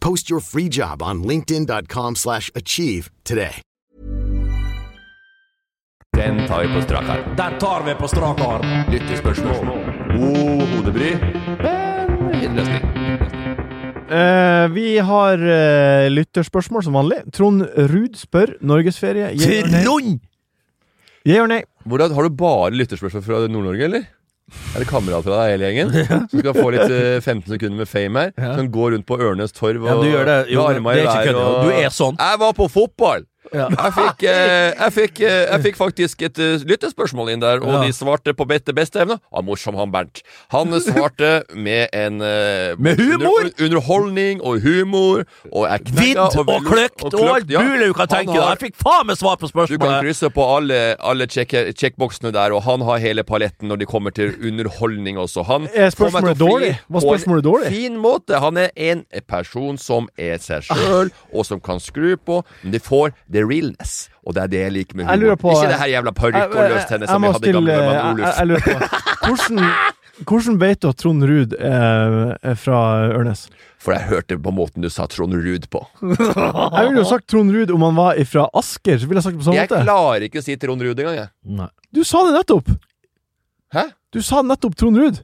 Speaker 8: Post your free job on linkedin.com/achieve slash achieve today.
Speaker 3: Den tar vi på strak arm.
Speaker 5: Der tar vi på strak arm.
Speaker 3: Lyttespørsmål. God hodebry, men innløsning.
Speaker 4: Eh, vi har eh, lytterspørsmål som vanlig. Trond Ruud spør norgesferie. Jeg gjør nei.
Speaker 5: Trond!
Speaker 4: Jeg gjør nei.
Speaker 3: Hvordan, har du bare lytterspørsmål fra Nord-Norge, eller? Er det kamerat fra deg hele gjengen? Som skal få litt eh, 15 sekunder med fame her? Som går rundt på Ørnes torv og
Speaker 5: Ja, du gjør det. Jo,
Speaker 3: med armer i
Speaker 5: det er ikke
Speaker 3: været
Speaker 5: kødd,
Speaker 3: og-
Speaker 5: jo. Du er sånn.
Speaker 3: Jeg var på fotball!
Speaker 5: Ja.
Speaker 3: Jeg fikk, eh, jeg, fikk, eh, jeg fikk faktisk et eh, lyttespørsmål inn der, og
Speaker 5: Ja.
Speaker 3: de svarte på beste, beste evne. Ah, morsom han Bernt. Han svarte med en eh,
Speaker 5: Med humor!
Speaker 3: under- underholdning og humor. Og jeg
Speaker 5: Vidd
Speaker 3: knekka
Speaker 5: og kløkt og alt
Speaker 3: ja.
Speaker 5: mulig du kan
Speaker 3: Han
Speaker 5: tenke deg.
Speaker 3: har-
Speaker 5: Jeg fikk faen meg svar på
Speaker 3: Du kan
Speaker 5: spørsmålet.
Speaker 3: krysse på alle, alle check- checkboxene der, og han har hele paletten når det kommer til underholdning også. Han
Speaker 4: Er spørsmålet
Speaker 3: får meg til å fly
Speaker 4: dårlig? Var
Speaker 3: på en
Speaker 4: spørsmålet dårlig?
Speaker 3: Fin måte. Han er en person som er seg sjøl,
Speaker 4: Ah.
Speaker 3: og som kan skru på, men det får the realness. Og det er det jeg liker med
Speaker 4: Jeg
Speaker 3: humor.
Speaker 4: lurer på-
Speaker 3: Ikke det her jævla
Speaker 4: Jeg,
Speaker 3: parykk og
Speaker 4: jeg, jeg,
Speaker 3: løstennis som vi
Speaker 4: må
Speaker 3: hadde i
Speaker 4: stille
Speaker 3: gamle dager
Speaker 4: jeg,
Speaker 3: med
Speaker 4: jeg
Speaker 3: Oluf.
Speaker 4: jeg lurer på Hvordan, hvordan vet du at Trond Ruud er, er fra Ørnes?
Speaker 3: For jeg hørte på måten du sa Trond Ruud på.
Speaker 4: Jeg ville jo sagt Trond Ruud om han var fra Asker. Så ville jeg sagt det på
Speaker 3: Jeg
Speaker 4: samme måte.
Speaker 3: klarer ikke å si Trond Ruud engang, jeg.
Speaker 5: Nei.
Speaker 4: Du sa det nettopp!
Speaker 3: Hæ?
Speaker 4: Du sa nettopp Trond Ruud.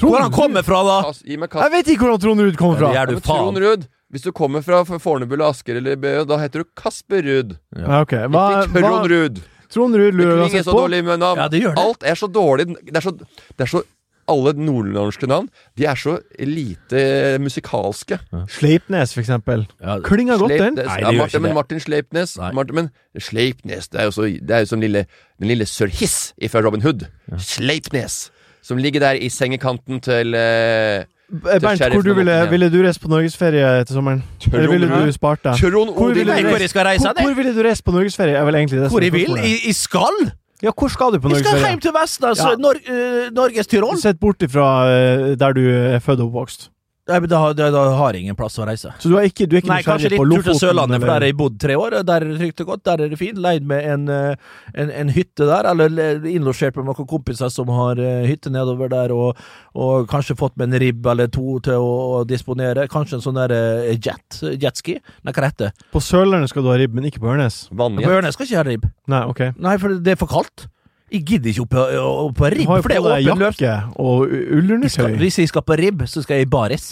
Speaker 5: Hvor han kommer fra,
Speaker 4: Ah.
Speaker 5: da?
Speaker 3: Kast, gi meg kast.
Speaker 4: Jeg vet ikke hvor han Trond Ruud kommer fra.
Speaker 5: Ja,
Speaker 4: Ja,
Speaker 5: Er du
Speaker 3: Men
Speaker 5: faen?
Speaker 3: Trond Ruud, hvis du kommer fra Fornebu eller Asker eller Bø, da heter du Kasper Ruud.
Speaker 4: ok. Hva,
Speaker 3: Ikke
Speaker 4: Ah, hva,
Speaker 3: Trond Ruud.
Speaker 4: Trond Ruud
Speaker 3: Det
Speaker 4: lurer
Speaker 3: klinger
Speaker 4: uansett
Speaker 3: så
Speaker 4: på.
Speaker 3: dårlig med navn.
Speaker 5: Ja, det gjør det.
Speaker 3: Alt er så dårlig. Det er så, det er så alle nordnorske navn De er så lite musikalske.
Speaker 4: Sleipnes, for eksempel.
Speaker 5: Ja,
Speaker 4: Klinga godt, den.
Speaker 3: Sleipnes-
Speaker 5: Nei, det
Speaker 3: ja,
Speaker 5: gjør
Speaker 3: Martin, men
Speaker 5: ikke det.
Speaker 3: Martin Sleipnes
Speaker 5: Nei.
Speaker 3: Martin, Men Sleipnes Det er jo, så, det er jo som lille, den lille Sir Hiss fra Robin Hood. Sleipnes! Som ligger der i sengekanten til eh,
Speaker 4: Eh, Bernt,
Speaker 3: sheriffen
Speaker 4: hvor du
Speaker 3: og
Speaker 4: ville,
Speaker 3: Morten, ja.
Speaker 4: ville du reist på norgesferie til sommeren? Eller ville
Speaker 3: Ruud.
Speaker 4: du spart deg?
Speaker 3: Trond
Speaker 4: Hvor
Speaker 3: Odin
Speaker 4: ville
Speaker 5: Nei,
Speaker 4: du
Speaker 5: hvor
Speaker 4: reist?
Speaker 5: jeg skal reise,
Speaker 4: Hvor,
Speaker 5: det.
Speaker 4: hvor ville du reist på norgesferie? Er vel egentlig det som
Speaker 5: Hvor
Speaker 4: er
Speaker 5: jeg vil?
Speaker 4: spørsmålet.
Speaker 5: I, i skall?
Speaker 4: Ja, hvor skal du på
Speaker 5: Vi skal
Speaker 4: norgesferie?
Speaker 5: hjem til Vesten, altså!
Speaker 4: Ja.
Speaker 5: Nor eh, Norges Tyrol!
Speaker 4: Sett bort ifra eh, der du er født og oppvokst.
Speaker 5: Nei, men da, da, da har jeg ingen plass å reise.
Speaker 4: Så du er ikke, du er ikke
Speaker 5: Nei, kanskje litt
Speaker 4: nysgjerrig på
Speaker 5: tur til
Speaker 4: Lofoten?
Speaker 5: Sørlandet, for
Speaker 4: eller-
Speaker 5: der har jeg bodd tre år. og Der er det trygt og godt, der er det fint. Leid med en, eh, en, en hytte der, eller le- innlosjert med noen kompiser som har eh, hytte nedover der, og, og kanskje fått med en ribb eller to til å, å disponere. Kanskje en sånn der eh, jet, jetski. Nei, hva heter det?
Speaker 4: På Sørlandet skal du ha ribb, men ikke på Ørnes?
Speaker 5: På
Speaker 3: Vannjet.
Speaker 5: Ørnes skal ikke ha ribb.
Speaker 4: Nei, OK.
Speaker 5: Nei, for det er for kaldt. Jeg gidder ikke opp på, opp på
Speaker 4: Du
Speaker 5: ribb,
Speaker 4: har jo
Speaker 5: for det
Speaker 4: på
Speaker 5: er
Speaker 4: deg
Speaker 5: åpen løp.
Speaker 4: jakke og u-
Speaker 5: Skal-
Speaker 4: ullundertøy.
Speaker 5: Hvis jeg skal på ribb, så skal jeg i baris.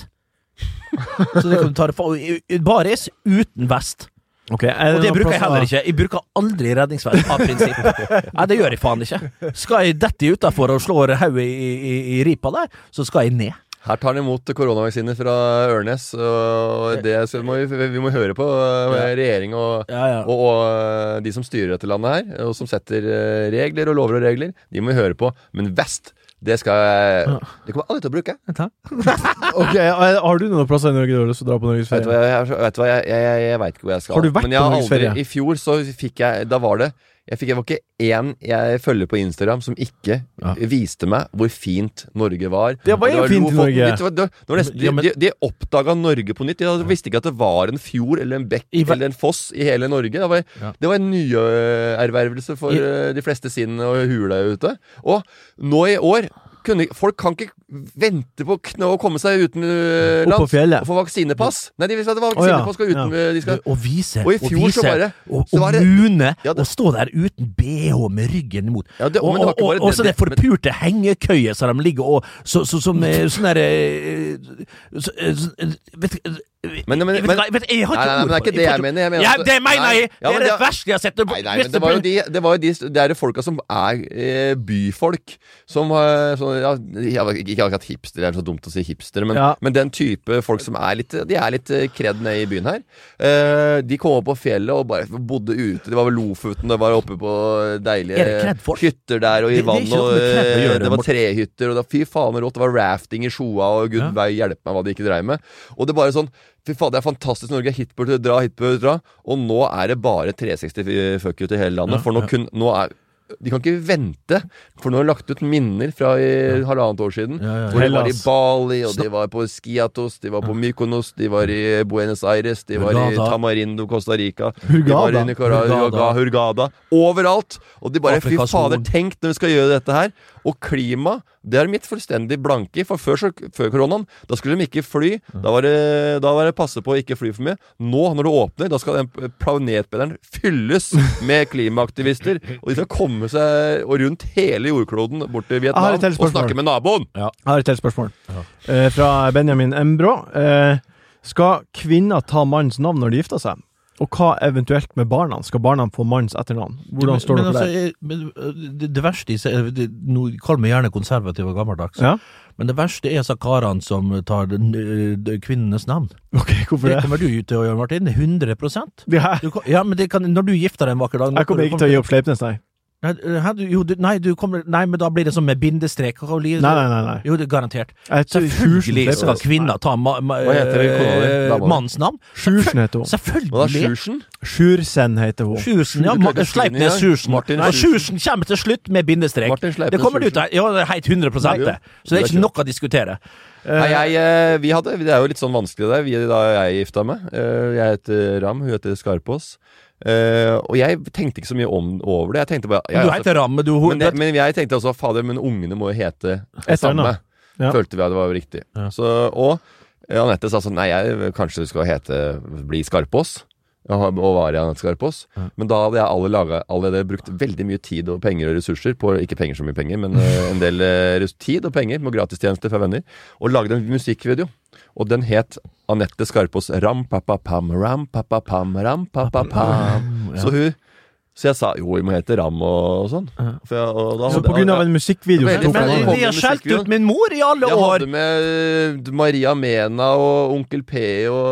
Speaker 5: så det kan du ta det for. i- i Baris uten vest.
Speaker 4: Ok, er
Speaker 5: Og det bruker
Speaker 4: noen
Speaker 5: jeg
Speaker 4: plasser-
Speaker 5: heller ikke. Jeg bruker aldri redningsvest av prinsipp. Nei, det gjør jeg faen ikke. Skal jeg dette utafor og slår hodet i, i, i ripa der, så skal jeg ned.
Speaker 3: Her tar han imot koronavaksiner fra Ørnes. Og det så må vi, vi må høre på eh, regjering og,
Speaker 5: Ja, ja.
Speaker 3: og, og eh, de som styrer dette landet her, og som setter eh, regler og lover og regler. De må vi høre på. Men vest, det skal jeg Det kommer jeg aldri til å bruke.
Speaker 4: Ok, er- Har du noen plasser i Norge du har lyst til å dra på
Speaker 3: Vet du
Speaker 4: norgesferie?
Speaker 3: hva, jeg, jeg- vet du hva, jeg, jeg, jeg, jeg vet ikke hvor jeg skal.
Speaker 4: Har du vært
Speaker 3: Men jeg
Speaker 4: på
Speaker 3: har
Speaker 4: norgesferie?
Speaker 3: aldri- I fjor så fikk jeg Da var det jeg, fikk, jeg var ikke én jeg følger på Instagram som ikke viste meg hvor fint Norge var.
Speaker 4: Det var
Speaker 3: Og
Speaker 4: jo fint i
Speaker 3: Lofoten.
Speaker 4: Norge.
Speaker 3: Vet du hva, det- det var nesten-
Speaker 4: Ja, men-
Speaker 3: De, de, de oppdaga Norge på nytt. De visste ikke at det var en fjord eller en bekk
Speaker 5: I ver-
Speaker 3: eller en foss i hele Norge. Det var, det var en nyervervelse for
Speaker 5: I-
Speaker 3: øh, de fleste sinn og hula ute. Og nå i år kunne, Folk kan ikke vente på å kn- å komme seg utenlands
Speaker 4: Opp på fjellet.
Speaker 3: og få vaksinepass. Nei, de vil at det var
Speaker 4: Å, ja.
Speaker 3: vaksinepass skal uten de skal,
Speaker 5: Og vise,
Speaker 3: Og i fjor
Speaker 5: vise,
Speaker 3: så bare-
Speaker 5: og,
Speaker 3: så var
Speaker 5: og
Speaker 3: det-
Speaker 5: mune,
Speaker 3: Ja, det-
Speaker 5: og stå der uten BH med ryggen imot.
Speaker 3: Ja, det-
Speaker 5: og,
Speaker 3: men det var
Speaker 5: og,
Speaker 3: ikke bare
Speaker 5: og,
Speaker 3: det-
Speaker 5: og så det
Speaker 3: det- men-
Speaker 5: forpurte hengekøyet som de ligger og så, så, Som eh, sånn derre så, eh, så, eh, Vet du
Speaker 3: Men- men-
Speaker 5: jeg, vet,
Speaker 3: men-
Speaker 5: ikke- jeg, vet, jeg har
Speaker 3: Nei,
Speaker 5: ikke
Speaker 3: nei, men
Speaker 5: ord
Speaker 3: det er
Speaker 5: på
Speaker 3: ikke det jeg mener. Jeg mener
Speaker 5: ja,
Speaker 3: at-
Speaker 5: det mener jeg!
Speaker 3: Nei, ja,
Speaker 5: det
Speaker 3: men
Speaker 5: er det
Speaker 3: det-
Speaker 5: verste jeg har sett. Det-
Speaker 3: Nei, nei,
Speaker 5: hvis
Speaker 3: men det var jo
Speaker 5: blir-
Speaker 3: de, det var jo de, det er de folka som er eh, byfolk. Som eh, sånn, ja, ja, Ikke akkurat hipster, det er så dumt å si hipster, men,
Speaker 4: Ja.
Speaker 3: men den type folk som er litt De er litt eh, kred nede i byen her. Eh, de kom opp på fjellet og bare bodde ute. Det var vel Lofoten, det var oppe på
Speaker 5: Er det
Speaker 3: deilige
Speaker 5: kred folk?
Speaker 3: hytter der og i
Speaker 5: Det- det er
Speaker 3: vann.
Speaker 5: ikke noe
Speaker 3: og,
Speaker 5: med kred å
Speaker 3: eh,
Speaker 5: gjøre,
Speaker 3: det var
Speaker 5: Morten.
Speaker 3: trehytter, og da, fy faen så rått. Det var rafting i Sjoa, og gud
Speaker 5: Ja.
Speaker 3: vei hjelpe meg hva de ikke dreiv med. Og det er bare sånn Fy faen, det er fantastisk Norge. Hit burde dra, hit burde dra. Og nå er det bare 360 fuck you til hele landet. for nå, kun, nå er De kan ikke vente, for nå har de lagt ut minner fra i halvannet år siden. Hvor de var i
Speaker 4: Hellas.
Speaker 3: Bali, og de var på Skiatos, de var på Mykonos, de var i Buenos Aires, de var i
Speaker 5: Hurghada.
Speaker 3: Tamarindo, Costa Rica, de var
Speaker 4: Hurghada.
Speaker 3: i Nicaragua,
Speaker 5: Hurghada.
Speaker 3: Hurgada. Overalt! Og de bare Fy
Speaker 5: Afrikas
Speaker 3: fader,
Speaker 5: Horn.
Speaker 3: tenk når vi skal gjøre dette her. Og klima, det er mitt fullstendig blanke i. For før, så, før koronaen, da skulle de ikke fly. Da var, det, da var det passe på å ikke fly for mye. Nå, når det åpner, da skal den planetbederen fylles med klimaaktivister. Og de skal komme seg og rundt hele jordkloden bort til
Speaker 4: Jeg har
Speaker 3: Vietnam
Speaker 4: et helt
Speaker 3: og
Speaker 4: spørsmål.
Speaker 3: snakke med naboen.
Speaker 4: Jeg har et helt spørsmål. Eh, fra Benjamin Embrå. Eh, skal kvinner ta mannens navn når de gifter seg? Og hva eventuelt med barna? Skal barna få mannens etternavn? Hvordan står
Speaker 5: men,
Speaker 4: dere
Speaker 5: altså,
Speaker 4: der?
Speaker 5: jeg- men, øh, det? Det verste i seg- det- Nå kall meg gjerne konservativ og gammeldags,
Speaker 4: Ja?
Speaker 5: men det verste er så karene som tar den, øh, de kvinnenes navn.
Speaker 4: Ok, hvorfor
Speaker 5: Det
Speaker 4: det?
Speaker 5: kommer du til å gjøre, Martin. 100
Speaker 4: Ja.
Speaker 5: du, kan- Ja, men det kan, Når du gifter deg en vakker dag
Speaker 4: Jeg kommer ikke til å gi opp Sleipnes, nei.
Speaker 5: Nei, øh, hæ, du, jo, du, nei, du kommer, nei, men da blir det som med bindestrek. hva blir det?
Speaker 4: Nei, nei, nei. nei.
Speaker 5: Jo, det er garantert.
Speaker 4: Jeg tror
Speaker 5: Selvfølgelig
Speaker 4: Sjursen
Speaker 5: skal
Speaker 4: Sleipnes.
Speaker 5: kvinner ta ma, ma,
Speaker 3: Hva heter det, kona di?
Speaker 5: øh,
Speaker 3: Dama di?
Speaker 5: mannens navn.
Speaker 4: Sjursen heter hun.
Speaker 3: Hva da,
Speaker 5: Selvfølgelig.
Speaker 3: Sjursen?
Speaker 4: Sjursen heter hun.
Speaker 5: Sjusen, ja.
Speaker 3: Du kan ikke
Speaker 5: Martin
Speaker 3: skrive den i dag.
Speaker 5: Sleipnes Sjusen.
Speaker 3: Martin
Speaker 5: Nei,
Speaker 3: Sjusen.
Speaker 5: Sjusen kommer til slutt med bindestrek.
Speaker 3: Martin Sleipnes
Speaker 5: det kommer du til
Speaker 3: Sjusen.
Speaker 5: Ja, det er heit 100 det. Så det er ikke noe å diskutere.
Speaker 3: Nei, jeg, eh, vi hadde, det er jo litt sånn vanskelig det der, vi, da jeg gifta meg. Eh, Jeg heter Ram, hun heter Skarpås. Eh, og jeg tenkte ikke så mye om, over det. Jeg tenkte bare jeg,
Speaker 5: Du
Speaker 3: altså,
Speaker 5: heter Ramme, du
Speaker 3: men, det, men jeg tenkte også Fader, men ungene må jo hete det
Speaker 4: Etter
Speaker 3: samme.
Speaker 4: henne. Ja.
Speaker 3: Følte vi at det var riktig. Så, og eh, Anette sa sånn Nei, jeg kanskje du skal hete Bli Skarpås. Og ha- og var jeg Anette Skarpås. Men da hadde jeg alle laget, allerede brukt veldig mye tid og penger og ressurser på Ikke penger så mye penger, men eh, en del eh, res- tid og penger på gratistjenester fra venner. Og lagde en musikkvideo. Og den het Anette Skarpås Ram pappa pam, ram pappa pam, ram pappa pam. Så hun så jeg sa jo, vi må hete Ram og, og sånn. For jeg, og da
Speaker 4: Så
Speaker 3: hadde-
Speaker 4: på grunn av en musikkvideo så
Speaker 3: Men-
Speaker 4: tok
Speaker 5: Men
Speaker 4: han
Speaker 3: det
Speaker 4: navnet.
Speaker 5: de har skjelt ut min mor i alle
Speaker 3: jeg
Speaker 5: år!
Speaker 3: hadde med eh, Maria Mena og Onkel P og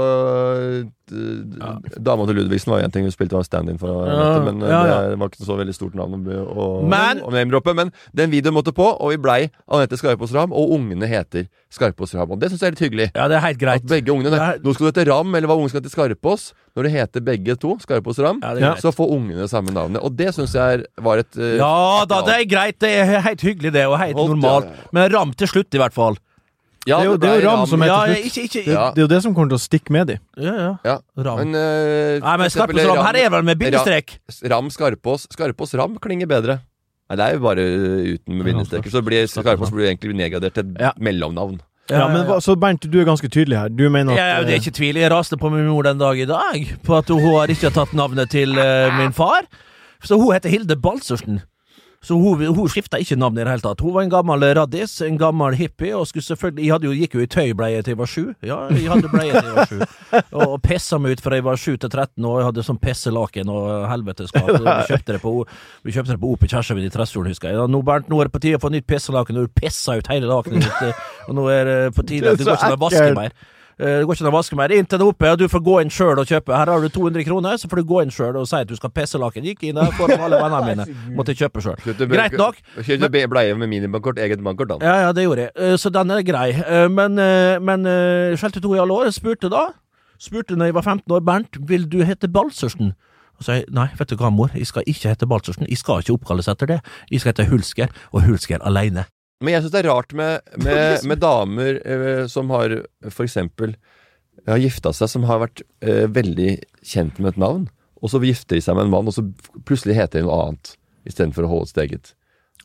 Speaker 3: eh, Dama til Ludvigsen var én ting hun spilte, var stand-in for,
Speaker 5: Ja,
Speaker 3: men eh,
Speaker 5: ja, ja.
Speaker 3: det er- var ikke så veldig stort navn å, be- å,
Speaker 5: Men-
Speaker 3: å name-droppe. Men den videoen måtte på, og vi blei Anette Skarpaas Ram, og ungene heter Skarpaas Ram. Og det syns jeg er litt hyggelig.
Speaker 5: Ja, det er
Speaker 3: At
Speaker 5: helt greit.
Speaker 3: begge ungene
Speaker 5: Det er-
Speaker 3: Nå skal du hete Ram, eller hva ungen skal hete Skarpaas. Når det heter begge to, Skarpaas Ram,
Speaker 5: Ja, det er greit.
Speaker 3: så får ungene samme navnet. Og det syns jeg er- var et eh,
Speaker 5: Ja da, det er greit. Det er helt hyggelig, det, og helt
Speaker 3: Holdt,
Speaker 5: normalt.
Speaker 3: ja.
Speaker 5: Men ram til slutt, i hvert fall.
Speaker 3: Ja,
Speaker 4: Det er jo- det er jo
Speaker 3: blei
Speaker 4: Ram som heter
Speaker 5: Ja,
Speaker 4: slutt.
Speaker 5: ikke, ikke,
Speaker 4: Det,
Speaker 5: ja.
Speaker 3: Ja.
Speaker 4: det er jo det som kommer til å stikke med de.
Speaker 5: ja.
Speaker 3: ja.
Speaker 5: Ram.
Speaker 3: Men, eh,
Speaker 5: Nei,
Speaker 3: for
Speaker 5: men
Speaker 3: eksempel
Speaker 5: Skarpaas Ram, her er vel med bindestrek.
Speaker 3: Ram Skarpås. Skarpås Ram klinger bedre. Nei, det er jo bare uh, uten bindestreker. Så blir Skarpås blir jo egentlig nedgradert til et
Speaker 5: Ja.
Speaker 3: mellomnavn.
Speaker 4: Ja, men hva- Så Bernt, du er ganske tydelig her. Du mener at
Speaker 5: Ja, ja, det er ikke tvil. Jeg raste på min mor den dag i dag på at hun har ikke tatt navnet til eh, min far. Så hun heter Hilde Balsersen. Så hun, hun skifta ikke navn i det hele tatt. Hun var en gammel raddis, en gammel hippie, og skulle selvfølgelig Jeg hadde jo, gikk jo i tøybleie til jeg var sju. Ja, jeg hadde bleie til jeg var sju. Og, og pissa meg ut fra jeg var sju til 13 år. Jeg hadde sånn pesselaken og helveteskap. Vi kjøpte det på, O- vi kjøpte det på OP Kjærstad i Tresfjorden, husker jeg. Ja, nå, Bernt, nå er det på tide å få nytt pesselaken, og du pissa ut hele lakenet ditt. eh, Og nå er det på tide at det
Speaker 4: Det er
Speaker 5: går ikke
Speaker 4: så
Speaker 5: an å vaske
Speaker 4: ekkelt.
Speaker 5: mer. Eh, Det går ikke an å vaske mer. Inntil det er oppe, og du får gå inn sjøl og kjøpe. Her har du 200 kroner, så får du gå inn sjøl og si at du skal pisse laken. Gikk inn der foran alle vennene mine. Måtte kjøpe sjøl. Greit nok.
Speaker 3: Kjøpte bleie med minibankkort, eget bankkort, da.
Speaker 5: Ja, ja, det gjorde jeg. Eh, Så den er grei. Eh, Men, eh, men eh, skjelte to i alle år. Spurte da. Spurte når jeg var 15 år, Bernt, vil du hete Balsersen? Og så sa jeg, nei, vet du hva, mor, jeg skal ikke hete Balsersen. Jeg skal ikke oppkalles etter det. Jeg skal hete Hulsker, og Hulsker aleine.
Speaker 3: Men jeg syns det er rart med, med, med damer eh, som har for eksempel har gifta seg, som har vært eh, veldig kjent med et navn, og så gifter de seg med en mann, og så plutselig heter de noe annet istedenfor å holde sitt eget.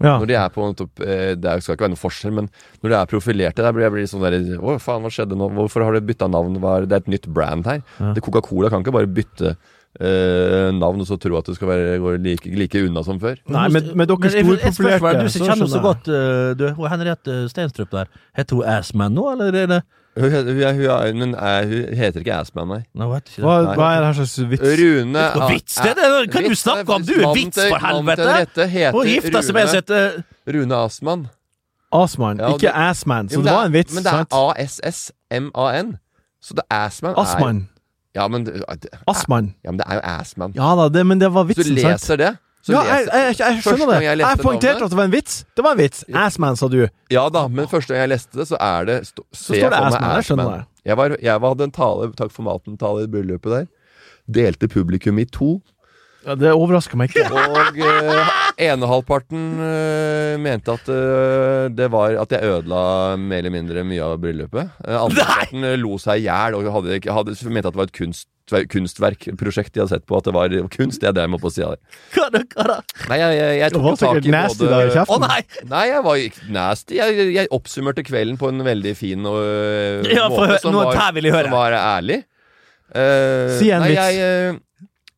Speaker 4: Ja.
Speaker 3: Når de er på en topp, eh, Det er- skal ikke være noe forskjell, men når de er profilerte der, blir jeg blir sånn der Å, faen, hva skjedde nå? Hvorfor har du bytta navn? Hva er, det?" det er et nytt brand her. Det Coca-Cola kan ikke bare bytte eh, navn og så tro at det skal være går like, like unna som før.
Speaker 4: Nei, men, men dere
Speaker 5: jeg- jeg- et spørsmål,
Speaker 4: storpopulerte
Speaker 5: Du som kjenner henne så godt, eh, du. Hun Henriette Stenstrup der. Heter hun Assman nå, eller er det
Speaker 3: Hun, hun, hun, er- men er, hun heter ikke Assman, nei.
Speaker 5: Nei, hun heter ikke det.
Speaker 4: Hva,
Speaker 3: Nei.
Speaker 4: hva er det her slags vits?
Speaker 3: Rune
Speaker 5: Hva vits det er? Det kan du snakke om. Du er vits, for helvete. Hun gifta seg med sitt eh,
Speaker 3: Rune Asman.
Speaker 4: Assman,
Speaker 3: Ja, og
Speaker 4: ikke
Speaker 3: det-
Speaker 4: assman. Så
Speaker 3: Jo,
Speaker 4: det var en vits,
Speaker 3: Men det er
Speaker 4: sant?
Speaker 3: ASSMAN. Så det Assman er
Speaker 4: Assman.
Speaker 3: Ja, men det- ja, det-
Speaker 4: Assman.
Speaker 3: ja, men det er jo Assman.
Speaker 4: Ja da, det, men det var
Speaker 3: Hvis du
Speaker 4: vitsen, sant?
Speaker 3: leser det, så
Speaker 4: Ja, jeg,
Speaker 3: leser
Speaker 4: jeg, jeg
Speaker 3: Første
Speaker 4: skjønner det.
Speaker 3: gang jeg
Speaker 4: Jeg,
Speaker 3: leste
Speaker 4: poengterte
Speaker 3: navnet-
Speaker 4: at det var en vits. Det var en vits. Assman, sa du.
Speaker 3: Ja da, men første gang jeg leste det, så er det st
Speaker 4: står det Assman, jeg skjønner det.
Speaker 3: Jeg, var, jeg var, hadde en tale, takk for maten-tale i bryllupet der. Delte publikum i to.
Speaker 4: Ja, det overrasker meg ikke.
Speaker 3: Og eh, enehalvparten eh, mente at eh, det var at jeg ødela mer eller mindre mye av bryllupet. Eh, Andreparten eh, lo seg i hjel og hadde, ikke- hadde, mente at det var et kunst, kunstverkprosjekt de hadde sett på. At det var kunst, det er det jeg må på sida der.
Speaker 5: hva da, hva da?
Speaker 3: Nei, jeg, jeg, jeg
Speaker 4: Det
Speaker 3: tok
Speaker 4: var
Speaker 3: jo tak
Speaker 4: sikkert
Speaker 3: i
Speaker 4: nasty
Speaker 3: både
Speaker 4: der i
Speaker 5: Å
Speaker 4: kjeften.
Speaker 5: nei!
Speaker 3: Nei, jeg var ikke nasty. Jeg, jeg oppsummerte kvelden på en veldig fin øh,
Speaker 5: Ja, få høre-
Speaker 3: måte som
Speaker 5: noe
Speaker 3: var,
Speaker 5: her vil jeg høre.
Speaker 3: som var ærlig. Eh,
Speaker 4: Si en
Speaker 3: nei,
Speaker 4: vits.
Speaker 3: Jeg, øh,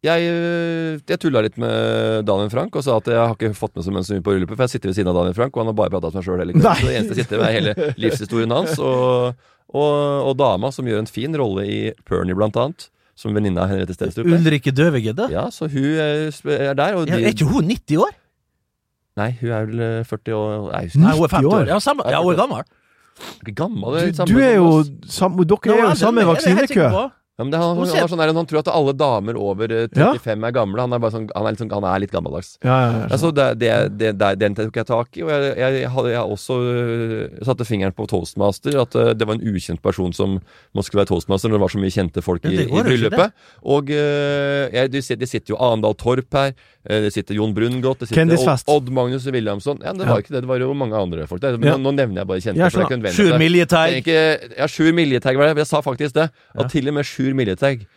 Speaker 3: jeg, øh, jeg tulla litt med Daniel Frank og sa at jeg har ikke fått med så mye på bryllupet, for jeg sitter ved siden av Daniel Frank, og han har bare prata om seg sjøl hele kvelden.
Speaker 4: Nei.
Speaker 3: Så det eneste jeg sitter med, er hele livshistorien hans og, og, og dama, som gjør en fin rolle i Pernie, blant annet. Som venninna av Henriette Stenstrup. er.
Speaker 5: Ulrikke Døvegedde?
Speaker 3: Ja, så hun eh, sp- er der, og
Speaker 5: Ja, er
Speaker 3: de
Speaker 5: ikke hun 90 år?
Speaker 3: Nei, hun er vel eh, 40 og Nei, hun
Speaker 5: Nei, hun er
Speaker 4: 90
Speaker 5: 50
Speaker 4: år.
Speaker 5: år. Ja, samme, ja hun er gammel.
Speaker 3: er ikke gammel.
Speaker 4: Du,
Speaker 3: samme
Speaker 4: du er
Speaker 3: som
Speaker 4: jo
Speaker 3: oss.
Speaker 5: Nei, hun det er
Speaker 4: sam, Dere er jo i samme
Speaker 5: jeg helt
Speaker 4: vaksinekø.
Speaker 5: sikker på.
Speaker 3: Ja, men det, han,
Speaker 5: Hun
Speaker 3: han,
Speaker 5: ser-
Speaker 3: er sånn der, han tror at alle damer over eh, 35 er gamle. Han er, bare sånn, han er, litt sånn, han er litt gammeldags.
Speaker 4: Ja, ja, ja.
Speaker 5: sånn.
Speaker 3: Altså, det, det, det, det- den tok jeg tak i, og jeg, jeg, hadde, jeg også øh, satte fingeren på toastmaster. At øh, det var en ukjent person som må skulle være toastmaster når det var så mye kjente folk
Speaker 5: Ja,
Speaker 3: i,
Speaker 5: det
Speaker 3: i
Speaker 5: går jo ikke, det.
Speaker 3: bryllupet. Og øh, jeg, det, sit- det sitter jo Arendal Torp her, øh, det sitter Jon Brungot, det sitter Odd,
Speaker 4: Kjendisfest.
Speaker 3: Odd Magnus Williamson Ja, men det var ikke det, det var jo mange andre folk der. Men
Speaker 4: Ja.
Speaker 3: nå, nå nevner jeg bare kjente.
Speaker 4: Ja,
Speaker 3: for det er ikke
Speaker 4: skjønner.
Speaker 3: nødvendig at
Speaker 5: Sjur
Speaker 3: det-
Speaker 5: Miljeteig.
Speaker 3: det er Ikke, ja, Sjur Miljeteig var det. men Jeg sa faktisk det. At til og med Sjur Miljeteig,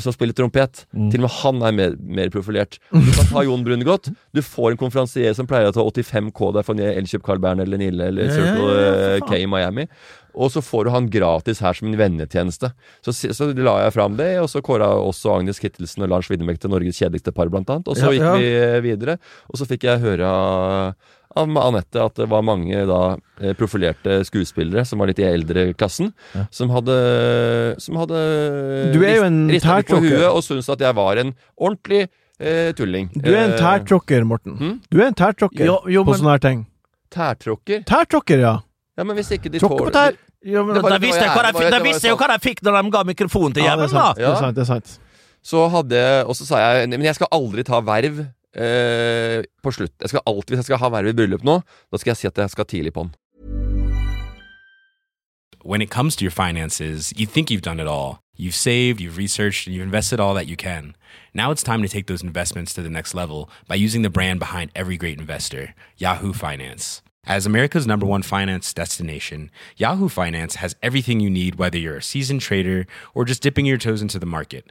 Speaker 3: som spiller trompet,
Speaker 5: Mm.
Speaker 3: til og med han er mer, mer profilert. Du kan ta Jon Brungot. Du får en konferansier som pleier å ta 85K der for Elkjøp Carl Bern eller Nille eller
Speaker 5: Ja, ja, ja,
Speaker 3: Circle
Speaker 5: ja,
Speaker 3: eh,
Speaker 5: for faen.
Speaker 3: K i Miami. Og så får du han gratis her som en vennetjeneste. Så, si- så la jeg fram det, og så kåra også Agnes Kittelsen og Lars Widenbeck til Norges kjedeligste par, blant annet. Og så
Speaker 5: Ja,
Speaker 3: gikk
Speaker 5: ja.
Speaker 3: vi eh, videre, og så fikk jeg høre av av Anette at det var mange da eh, profilerte skuespillere som var litt i eldre klassen, som hadde, som hadde eh,
Speaker 4: Du er jo
Speaker 3: rist-
Speaker 4: en
Speaker 3: ristet litt på
Speaker 4: tærtråkker.
Speaker 3: huet og syntes at jeg var en ordentlig eh, tulling.
Speaker 4: Du er en
Speaker 3: Eh,
Speaker 4: tærtråkker, Morten.
Speaker 3: hm?
Speaker 4: Du er en tærtråkker
Speaker 5: Jo, jo,
Speaker 4: på
Speaker 5: men-
Speaker 4: sånne her ting.
Speaker 3: Tærtråkker?
Speaker 4: Tærtråkker, ja.
Speaker 3: Ja, men hvis ikke de
Speaker 4: Tråkker
Speaker 3: tåler
Speaker 4: på tær.
Speaker 5: Jo, men,
Speaker 3: Det var
Speaker 5: da
Speaker 3: jo-
Speaker 5: visste jeg
Speaker 3: det
Speaker 5: hva
Speaker 3: var
Speaker 5: de
Speaker 3: jeg-
Speaker 5: fikk-
Speaker 3: det
Speaker 5: da
Speaker 3: var jeg
Speaker 5: visste jeg jo hva de fikk når de ga mikrofonen til
Speaker 4: Ja,
Speaker 5: jævelen,
Speaker 4: det er
Speaker 5: da!
Speaker 4: sant. Det er sant, det er sant.
Speaker 3: Så hadde Og så sa jeg Men jeg skal aldri ta verv eh, på slutt. Jeg skal alltid, Hvis jeg skal ha verv i bryllup nå, da skal jeg si at jeg skal tidlig på'n.
Speaker 9: When it comes to your finances, you think you've done it all. You've saved, you've researched, and you've invested all that you can. Now it's time to take those investments to the next level by using the brand behind every great investor, Yahoo Finance. As America's number one finance destination, Yahoo Finance has everything you need, whether you're a seasoned trader or just dipping your toes into the market.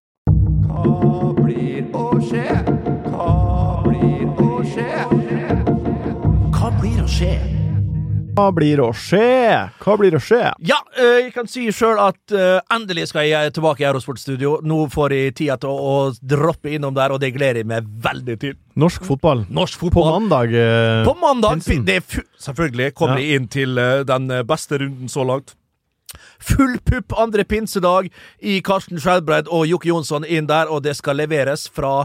Speaker 3: Hva blir å skje? Hva blir å skje?
Speaker 5: Hva blir å skje?
Speaker 4: Hva blir å skje? Hva blir å skje?
Speaker 5: Ja, eh, jeg kan si sjøl at eh, endelig skal jeg tilbake i Eurosportstudio. Nå får jeg tida til å, å droppe innom der, og det gleder jeg meg veldig til.
Speaker 4: Norsk fotball.
Speaker 5: Norsk
Speaker 4: På
Speaker 5: fotball.
Speaker 4: mandag. eh,
Speaker 5: På mandag
Speaker 4: Pinsen.
Speaker 5: det er fu Selvfølgelig kommer
Speaker 4: Ja.
Speaker 5: de inn til eh, den beste runden så langt. Full pupp andre pinsedag i Karsten Skjelbreid og Jokke Jonsson inn der, og det skal leveres fra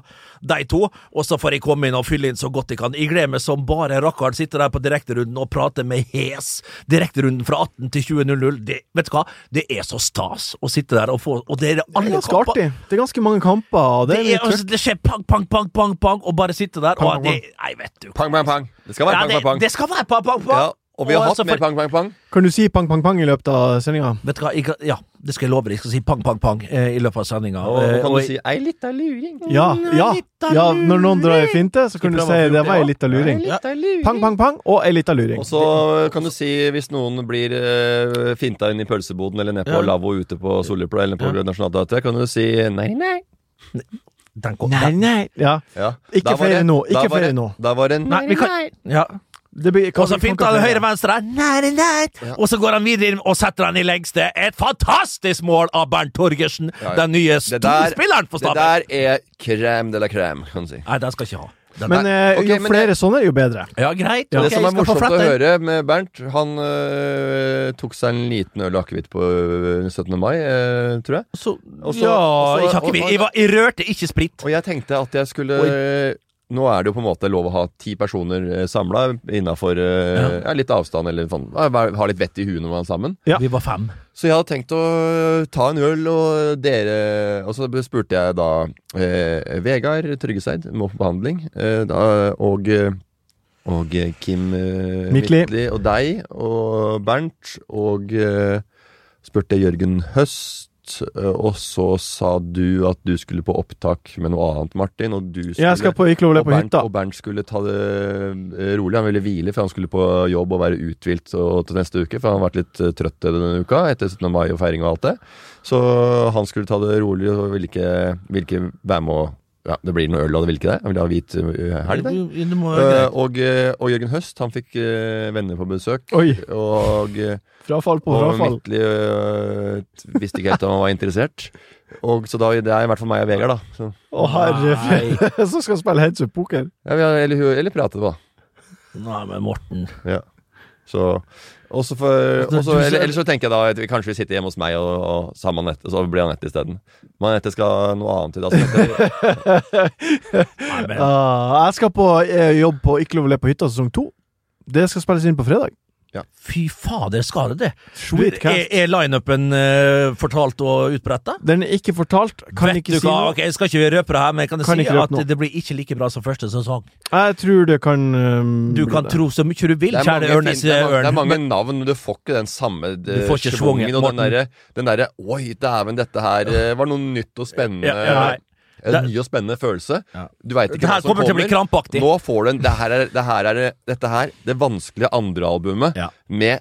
Speaker 5: de to. Og så får jeg komme inn og fylle inn så godt jeg kan. Jeg gleder meg som bare rakkeren. Sitter der på direkterunden og prater med hes. Direkterunden fra 18 til 20.00. Det, vet du hva? Det er så stas å sitte der og få Og det er
Speaker 4: Det
Speaker 5: alle
Speaker 4: er ganske
Speaker 5: kamper-
Speaker 4: artig. Det er ganske mange kamper. og
Speaker 5: Det,
Speaker 4: Det er
Speaker 5: er,
Speaker 4: litt
Speaker 5: altså,
Speaker 4: trøkk.
Speaker 5: det skjer pang, pang, pang, pang, pang, og bare sitte der.
Speaker 4: Pang,
Speaker 5: og
Speaker 4: pang,
Speaker 5: det, nei, vet du hva.
Speaker 3: Pang, pang, pang. Det skal være
Speaker 5: Ja,
Speaker 3: pang, pang,
Speaker 5: det,
Speaker 3: pang.
Speaker 5: det skal være pang, pang, pang.
Speaker 3: Ja, og vi har hatt
Speaker 5: altså,
Speaker 3: mer
Speaker 5: for-
Speaker 3: pang, pang, pang.
Speaker 4: Kan du si pang, pang, pang i løpet av sendinga?
Speaker 5: Vet du hva, jeg, kan- ja, det skal jeg love deg. Jeg skal si pang, pang, pang eh, i løpet av sendinga.
Speaker 3: Og
Speaker 5: Eh,
Speaker 3: kan
Speaker 5: og
Speaker 3: du
Speaker 5: jeg-
Speaker 3: si 'ei lita luring'?
Speaker 4: Ja, ja, ja. Når noen drar ei finte, så kan du
Speaker 3: Skal prøve å
Speaker 4: si det
Speaker 3: filme
Speaker 4: var ei
Speaker 3: det,
Speaker 4: lita luring.
Speaker 3: Ja.
Speaker 4: Pang, pang, pang og ei lita luring.
Speaker 3: Og så kan du si hvis noen blir eh, finta inn i pølseboden eller ned på
Speaker 5: Ja.
Speaker 3: lavvo ute på Solipla eller på
Speaker 5: Ja.
Speaker 3: Nationaltheatret, kan du si nei, nei.
Speaker 5: den kom, den.
Speaker 4: nei. Ja.
Speaker 3: Ja.
Speaker 4: Ikke
Speaker 3: Da var det-
Speaker 4: flere nå,
Speaker 3: da
Speaker 4: ikke
Speaker 3: var det-
Speaker 4: flere nå.
Speaker 3: Da var det nei.
Speaker 5: Nei, vi kan, ja.
Speaker 4: Det blir-
Speaker 5: Og så finter han
Speaker 4: kanskje-
Speaker 5: høyre-venstre, nei, nei, nei. og så går han videre inn og setter han i lengste. Et fantastisk mål av Bernt Torgersen,
Speaker 3: Ja, ja.
Speaker 5: den nye
Speaker 3: Det der,
Speaker 5: storspilleren for
Speaker 3: det
Speaker 5: Stabæk.
Speaker 3: der er krem de la crème, kan du si.
Speaker 5: Nei, den skal jeg ikke ha. Den
Speaker 4: Men
Speaker 5: der-
Speaker 4: eh,
Speaker 3: Ok,
Speaker 4: jo
Speaker 3: men
Speaker 4: flere sånne, jo bedre.
Speaker 5: ja, greit.
Speaker 4: Ja.
Speaker 5: ok,
Speaker 3: det som
Speaker 5: jeg
Speaker 3: er
Speaker 5: skal få
Speaker 3: morsomt å
Speaker 5: flette.
Speaker 3: høre med Bernt Han øh, tok seg en liten øl og akevitt på øh, 17. mai, øh, tror jeg.
Speaker 5: Så,
Speaker 3: Og så-
Speaker 5: ja,
Speaker 3: og så-
Speaker 5: jeg, har ikke,
Speaker 3: og-
Speaker 5: jeg, var, jeg rørte ikke sprit.
Speaker 3: Og jeg tenkte at jeg skulle Nå er det jo på en måte lov å ha ti personer samla innafor eh, ja. ja, litt avstand, eller sånn. Ja, vær- Ha litt vett i huet når man er sammen.
Speaker 4: Ja.
Speaker 5: Vi var fem.
Speaker 3: Så jeg hadde tenkt å ta en øl, og dere Og så spurte jeg da eh, Vegard Tryggeseid må på behandling, eh, da, og, eh, og eh, Kim eh,
Speaker 4: Mikli.
Speaker 3: Mikli og deg og Bernt, og eh, spurte jeg Jørgen Høst. eh, Og så sa du at du skulle på opptak med noe annet, Martin. Og du skulle
Speaker 4: Jeg skal på Iklovle
Speaker 3: og
Speaker 4: på
Speaker 3: Bernt,
Speaker 4: hytta.
Speaker 3: og Bernt skulle ta det eh, rolig. Han ville hvile, for han skulle på jobb og være uthvilt og- til neste uke. For han har vært litt eh, trøtt denne uka etter 17. mai og feiring og alt det. Så han skulle ta det rolig og ville ikke, ville ikke være med og ja, Det blir noe øl, og det ville ikke det. Han ville ha hvit eh, helg.
Speaker 4: Mm.
Speaker 3: det.
Speaker 5: Du- du må-
Speaker 3: Eh, og, eh, og Jørgen Høst, han fikk eh, venner på besøk.
Speaker 4: Oi.
Speaker 3: Og eh,
Speaker 4: Frafall på
Speaker 3: og
Speaker 4: frafall.
Speaker 3: Midtly øh, visste ikke helt om han var interessert. Og, så da, det er i hvert fall meg og Vegard, da. Så,
Speaker 4: Å herre Som skal spille heads up poker.
Speaker 3: ja, vi har, eller, eller prate, da.
Speaker 5: Nei, men Morten
Speaker 3: Ja. Så og så for, og så- eller, eller så tenker jeg da at vi kanskje vi sitter hjemme hos meg og, og sammen med Anette, så blir Anette isteden. Men Anette skal noe annet i dag. så Anette-
Speaker 5: Nei, men
Speaker 4: Ah, jeg skal på eh, jobb på Iklovle på hytta sesong to. Det skal spilles inn på fredag.
Speaker 5: Fy fader, skal det det? Du,
Speaker 4: Sweet
Speaker 5: er
Speaker 4: cast.
Speaker 5: er lineupen eh, fortalt og utbretta?
Speaker 4: Den er ikke fortalt. Kan
Speaker 5: Vet
Speaker 4: ikke
Speaker 5: du
Speaker 4: si
Speaker 5: hva?
Speaker 4: noe.
Speaker 5: Ok, jeg skal ikke røpe det her, men jeg kan,
Speaker 4: Kan
Speaker 5: si
Speaker 4: ikke røpe
Speaker 5: at
Speaker 4: noe.
Speaker 5: det blir ikke like bra som første sesong.
Speaker 4: Jeg tror det kan um,
Speaker 5: Du
Speaker 4: bli
Speaker 5: kan
Speaker 4: det.
Speaker 5: tro så mye du vil,
Speaker 3: Det er, mange
Speaker 5: kjære
Speaker 3: fin,
Speaker 5: Ørnes
Speaker 3: det, er, mange- det er
Speaker 5: Ørn.
Speaker 3: mange navn, men du får ikke den samme eh,
Speaker 5: får ikke svungen,
Speaker 3: og den
Speaker 5: Morten.
Speaker 3: derre den derre, Oi, dæven, dette her eh, var noe nytt og spennende.
Speaker 5: Ja, ja, nei.
Speaker 3: en
Speaker 5: Det-
Speaker 3: ny og spennende følelse.
Speaker 5: Ja.
Speaker 3: Du veit ikke
Speaker 5: Det her
Speaker 3: hva som
Speaker 5: kommer
Speaker 3: kommer.
Speaker 5: til å bli krampaktig.
Speaker 3: Nå får du en det her er, det her er, Dette her, det vanskelige andre albumet
Speaker 5: Ja.
Speaker 3: med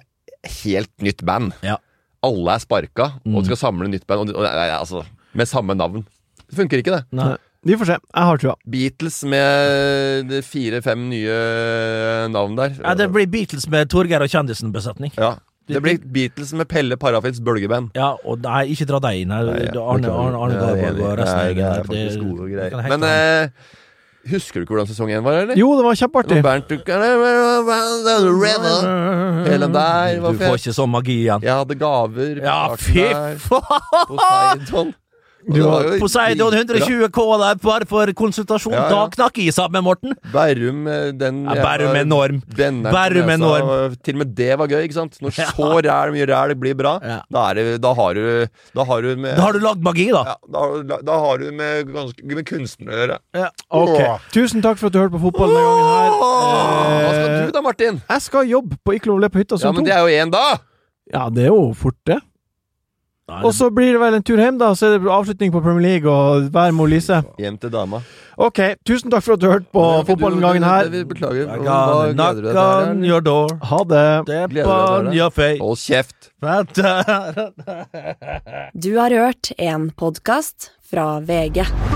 Speaker 3: helt nytt band.
Speaker 5: Ja. Mm.
Speaker 3: Alle er sparka og skal samle nytt band og, og, nei, altså, med samme navn. Det funker ikke, det.
Speaker 5: Nei.
Speaker 4: Vi får se. Jeg har trua.
Speaker 3: Beatles med de fire-fem nye eh, navn der.
Speaker 5: Ja, det blir Beatles med Torgeir og kjendisen-besetning.
Speaker 3: Ja. Det blir Beatles med Pelle Parafins bølgeband.
Speaker 5: Ja, og nei, ikke dra deg inn her.
Speaker 3: Nei,
Speaker 5: Det er Arne, Arne, Arne Garborg og resten av
Speaker 3: Nei, det
Speaker 5: gjengen
Speaker 3: er
Speaker 5: der.
Speaker 3: faktisk gode
Speaker 5: det kan
Speaker 3: greier.
Speaker 5: henge
Speaker 3: Men
Speaker 5: sammen.
Speaker 3: eh, husker du ikke hvordan sesong én var, eller?
Speaker 4: Jo, det var kjempeartig.
Speaker 3: Når Bernt tok- Hele der var
Speaker 5: Du får
Speaker 3: fet.
Speaker 5: ikke sånn magi igjen.
Speaker 3: Jeg hadde gaver.
Speaker 5: Ja,
Speaker 3: Arten
Speaker 5: fy
Speaker 3: der,
Speaker 5: faen!
Speaker 3: Poseidon. Og
Speaker 4: Du
Speaker 3: det
Speaker 4: har-
Speaker 3: var jo
Speaker 5: Poseidon
Speaker 3: dritbra.
Speaker 5: 120 K der bare for konsultasjon.
Speaker 3: Ja, ja.
Speaker 5: Da knakk jeg sammen, Morten.
Speaker 3: Bærum, eh, den
Speaker 5: Ja, Bærum enorm.
Speaker 3: Benneren på
Speaker 5: Bærum
Speaker 3: nesa,
Speaker 5: enorm.
Speaker 3: og Til og med det var gøy, ikke sant? Når så ræl mye ræl blir bra,
Speaker 5: Ja.
Speaker 3: da, er det, da har du Da har du med
Speaker 5: Da har du lagd magi, da.
Speaker 3: ja, da, da, da har du med, ganske, med kunstnere å gjøre.
Speaker 4: Ok. Tusen takk for at du hørte på fotball denne gangen
Speaker 3: Hva
Speaker 4: her.
Speaker 3: skal du da, Martin?
Speaker 4: Jeg skal jobbe på Ikke lov å le på hytta
Speaker 3: Ja,
Speaker 4: som
Speaker 3: men
Speaker 4: to.
Speaker 3: det er jo én, da!
Speaker 4: Ja, det er jo fort, det.
Speaker 5: Nei,
Speaker 4: Og så blir det vel en tur hjem, da. Så er det avslutning på Premier League og vær med Lise.
Speaker 3: Hjem til dama.
Speaker 4: Ok, tusen takk for at du hørte på
Speaker 3: Ja,
Speaker 4: fotball
Speaker 3: du-
Speaker 4: denne gangen
Speaker 3: du-
Speaker 4: her.
Speaker 3: vi Beklager.
Speaker 5: I
Speaker 3: Hva gleder du
Speaker 5: can
Speaker 3: deg
Speaker 5: knock
Speaker 3: til?
Speaker 5: on
Speaker 3: her?
Speaker 5: your door.
Speaker 4: Ha det.
Speaker 5: Step
Speaker 3: Gleder du deg til
Speaker 5: on
Speaker 3: det?
Speaker 5: your face.
Speaker 3: Hold kjeft!
Speaker 5: Vent,
Speaker 1: Du har hørt en podkast fra VG.